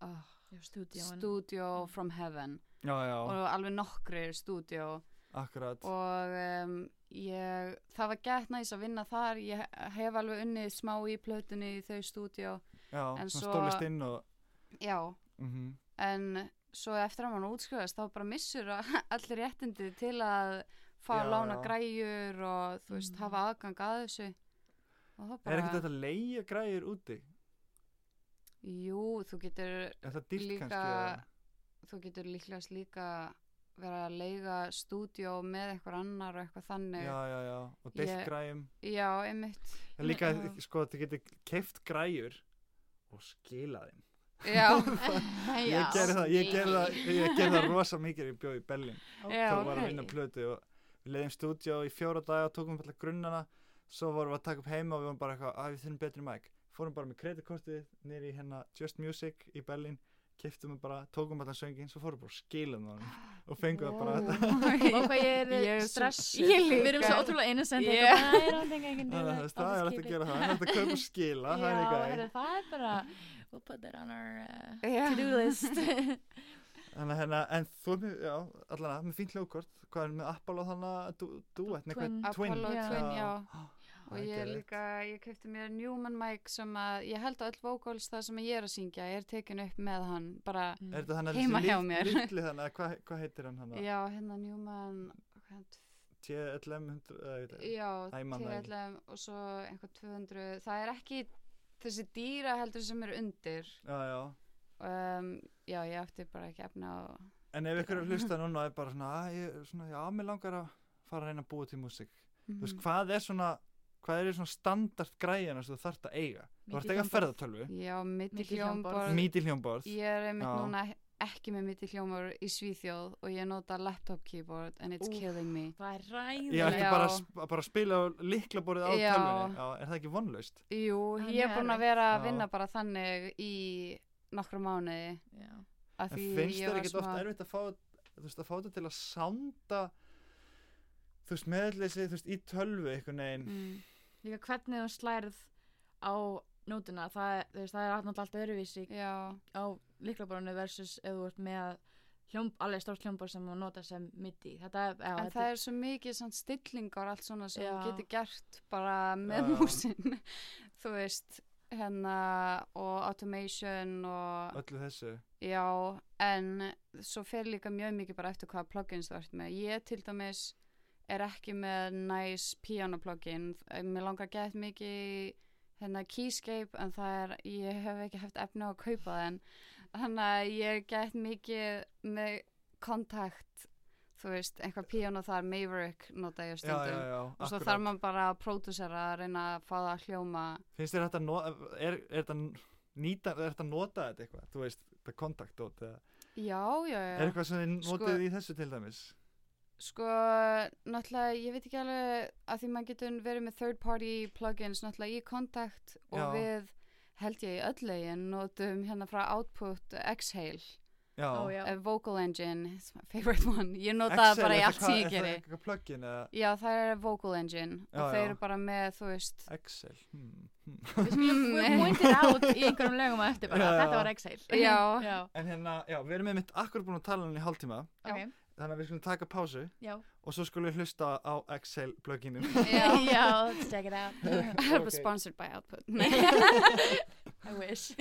Speaker 4: uh,
Speaker 3: Já, stúdíóin.
Speaker 4: studio from heaven
Speaker 2: já, já,
Speaker 4: og alveg nokkri studio
Speaker 2: akkurat
Speaker 4: og um, ég, það var gett næs að vinna þar, ég hef alveg unnið smá í plötunni í þau studio,
Speaker 2: já,
Speaker 4: en
Speaker 2: svona
Speaker 4: svo-
Speaker 2: stólist inn og
Speaker 4: já,
Speaker 2: mhm
Speaker 4: en svo eftir að mann útskrifast þá bara missur <laughs> allir réttindi til að fá
Speaker 2: Já,
Speaker 4: að lána
Speaker 2: já.
Speaker 4: græjur og þú veist,
Speaker 3: Mhm.
Speaker 4: hafa aðgang að þessu og það
Speaker 2: er ekkert
Speaker 4: bara,
Speaker 2: þetta að leigja græjur úti
Speaker 4: jú, þú getur
Speaker 2: er það dýrt
Speaker 4: Líka-
Speaker 2: kannski eða?
Speaker 4: þú getur líklegast líka vera að leiga stúdíó með eitthvað annar og eitthvað þannig
Speaker 2: já, já, já, og deilt
Speaker 4: Ég-
Speaker 2: græjum
Speaker 4: já einmitt
Speaker 2: <laughs> En líka,
Speaker 3: Já.
Speaker 2: sko, þið getur keift græjur og skila þeim.
Speaker 4: já,
Speaker 2: Ég gerði það, ég gerði það, ég gerði það rosa mikið þegar ég bjóð í Berlín.
Speaker 4: Já,
Speaker 2: Þá var
Speaker 4: ok.
Speaker 2: að vinna plötu og við leiðum stúdíó í fjóra daga og tókum upp alltaf grunnana. Svo vorum við að taka upp heima og við varum bara eitthvað, að við þurfum betri mæk. Fórum bara með kreditkortið nýri í hérna Just Music í Berlín, keiftum við bara, tókum alltaf söngin, svo fórum við bara að skila þeim honum <gasps> og fengum það bara.
Speaker 3: Og hvað <laughs> ég
Speaker 4: Ég
Speaker 3: er
Speaker 4: er svo-
Speaker 3: stressuð.
Speaker 4: Ég líka.
Speaker 3: Við erum svo ótrúlega innocent.
Speaker 4: Ég-
Speaker 3: Yeah. Það er alltaf engin
Speaker 2: Þannig að þú veist, það er hægt að gera það, það er hægt að kaupa og
Speaker 4: <laughs>
Speaker 2: skila, það er
Speaker 3: Já,
Speaker 2: líka
Speaker 3: heyrðu, það er bara, we'll put that on our <laughs> uh, to-do
Speaker 4: já,
Speaker 3: list.
Speaker 2: Þannig að hérna, en þú er með, já, allan að, með fínt hljóðkort, hvað er með Apollo þannig að dú, dúett, nei, hvað,
Speaker 3: Twin.
Speaker 2: Twin,
Speaker 4: Apollo
Speaker 3: Já.
Speaker 4: Twin, já
Speaker 2: <gasps> Það
Speaker 4: og
Speaker 2: er
Speaker 4: ég
Speaker 2: geðveikt.
Speaker 4: líka, ég kefti mér Newman Mike sem að, ég held að öll vocals það sem ég er að syngja, ég er tekin upp með hann bara,
Speaker 3: Mm.
Speaker 2: er þetta hann að
Speaker 4: Mm. Heima hjá mér.
Speaker 2: litli þannig að, hvað hva heitir hann hann að,
Speaker 4: já, hérna Newman hvað hann-
Speaker 2: TLM, 100, eða, ég veit ekki.
Speaker 4: já,
Speaker 2: Æ, ég man það ekki.
Speaker 4: TLM og svo einhvað 200, það er ekki þessi dýra heldur sem eru undir
Speaker 2: já, já,
Speaker 4: um, já, ég átti bara ekki efna á
Speaker 2: en ef ykkur er að hlusta núna og er bara svona, að, ég, svona, já, mér langar að fara að reyna að búa til músík, þú
Speaker 4: Mm.
Speaker 2: veist, hvað er svona, hvað er svona standard græðina sem þú þarft að eiga, þú þarft að eiga ferðartölvu,
Speaker 4: já, mitt í
Speaker 3: Mikið hljómborð.
Speaker 4: hljómborð
Speaker 2: mítil hljómborð,
Speaker 4: ég er einmitt
Speaker 2: Já.
Speaker 4: núna ekki með mitt í hljómborð í Svíþjóð og ég nota laptop keyboard and it's
Speaker 3: Úff.
Speaker 4: killing me
Speaker 3: Það er
Speaker 2: ég ætti
Speaker 3: ræðilegt.
Speaker 4: Já.
Speaker 2: bara að sp- bara að spila á liklaborið á
Speaker 4: Já.
Speaker 2: tölvunni, já, er það ekki vonlaust?
Speaker 4: Jú,
Speaker 3: Það er mjög
Speaker 4: ég er búin að
Speaker 3: erfitt.
Speaker 4: vera
Speaker 2: Já.
Speaker 4: að vinna bara þannig í nokkra mánuði
Speaker 3: Já.
Speaker 2: En
Speaker 4: að því
Speaker 2: finnst
Speaker 4: ég
Speaker 2: þér
Speaker 4: var
Speaker 2: ekkert oft erfitt að fá þú veist, að fá þetta til að sanda þú veist, meðalleysi þú veist, í tölvu einhvern veginn
Speaker 4: mm,
Speaker 3: Líka hvernig þú slærð á nótuna, það, er- þú veist, það er náttúrulega allt öðruvísi
Speaker 4: Já,
Speaker 3: á líklaborinu versus ef þú ert með hljóm, alveg stórt hljómbor sem þú nota sem midi. Þetta er, já,
Speaker 4: en
Speaker 3: þetta
Speaker 4: það er svo mikið svona stillingar allt svona sem
Speaker 3: Já.
Speaker 4: þú getur gert bara með
Speaker 2: Já.
Speaker 4: músin <laughs> þú veist, hérna og automation og
Speaker 2: öllu þessu
Speaker 4: já, en svo fer líka mjög mikið bara eftir hvaða plugins þú ert með ég til dæmis er ekki með nice pianoplugin mér langar gett mikið í, hérna keyscape en það er, ég hef ekki haft efni á að kaupa þenn þannig að ég er gett mikið með kontakt þú veist, einhvað piano þar Maverick nota ég
Speaker 2: já,
Speaker 4: stundum
Speaker 2: já, já,
Speaker 4: og svo
Speaker 2: akkurat.
Speaker 4: þarf maður bara að pródusera að reyna að fá það að hljóma
Speaker 2: finnst þér þetta no- er, er þetta nýta, er þetta nota þetta eitthvað þú veist, þetta kontakt dót eða-
Speaker 4: já, já, já
Speaker 2: er eitthvað sem þið
Speaker 4: Sko-
Speaker 2: notið í þessu til dæmis
Speaker 4: Sko, náttúrulega, ég veit ekki alveg að því maður getur verið með third party plugins náttúrulega í kontakt og
Speaker 2: Já.
Speaker 4: við held ég í öll lögin notum hérna frá Output Exhale,
Speaker 2: já,
Speaker 3: Ó, já.
Speaker 4: uh, Vocal Engine, it's my favorite one, ég nota það bara í allt sem ég
Speaker 2: Er
Speaker 4: geri.
Speaker 2: það eitthvað plugin eða
Speaker 4: Já, það er Vocal Engine
Speaker 2: Já,
Speaker 4: og þau
Speaker 2: já.
Speaker 4: eru bara með, þú veist,
Speaker 2: Excel hmm. hmm.
Speaker 3: Við skulum
Speaker 4: Mm.
Speaker 3: við pointir át
Speaker 4: <laughs>
Speaker 3: í einhverjum lögum að eftir bara,
Speaker 2: Já, já.
Speaker 3: þetta var Excel.
Speaker 4: Já.
Speaker 3: já,
Speaker 2: En hérna, já, við erum með mitt akkur búin að tala um hann í hálftíma
Speaker 3: ok,
Speaker 2: Þannig að við skulum taka pásu
Speaker 3: já.
Speaker 2: og svo skulum við hlusta á Excel pluginin
Speaker 4: <laughs> já,
Speaker 3: <laughs>
Speaker 4: <laughs>
Speaker 3: já, check it out.
Speaker 4: <laughs>
Speaker 3: <laughs>
Speaker 4: það er
Speaker 2: Ok. <laughs>
Speaker 4: bara sponsored by Output.
Speaker 3: I wish.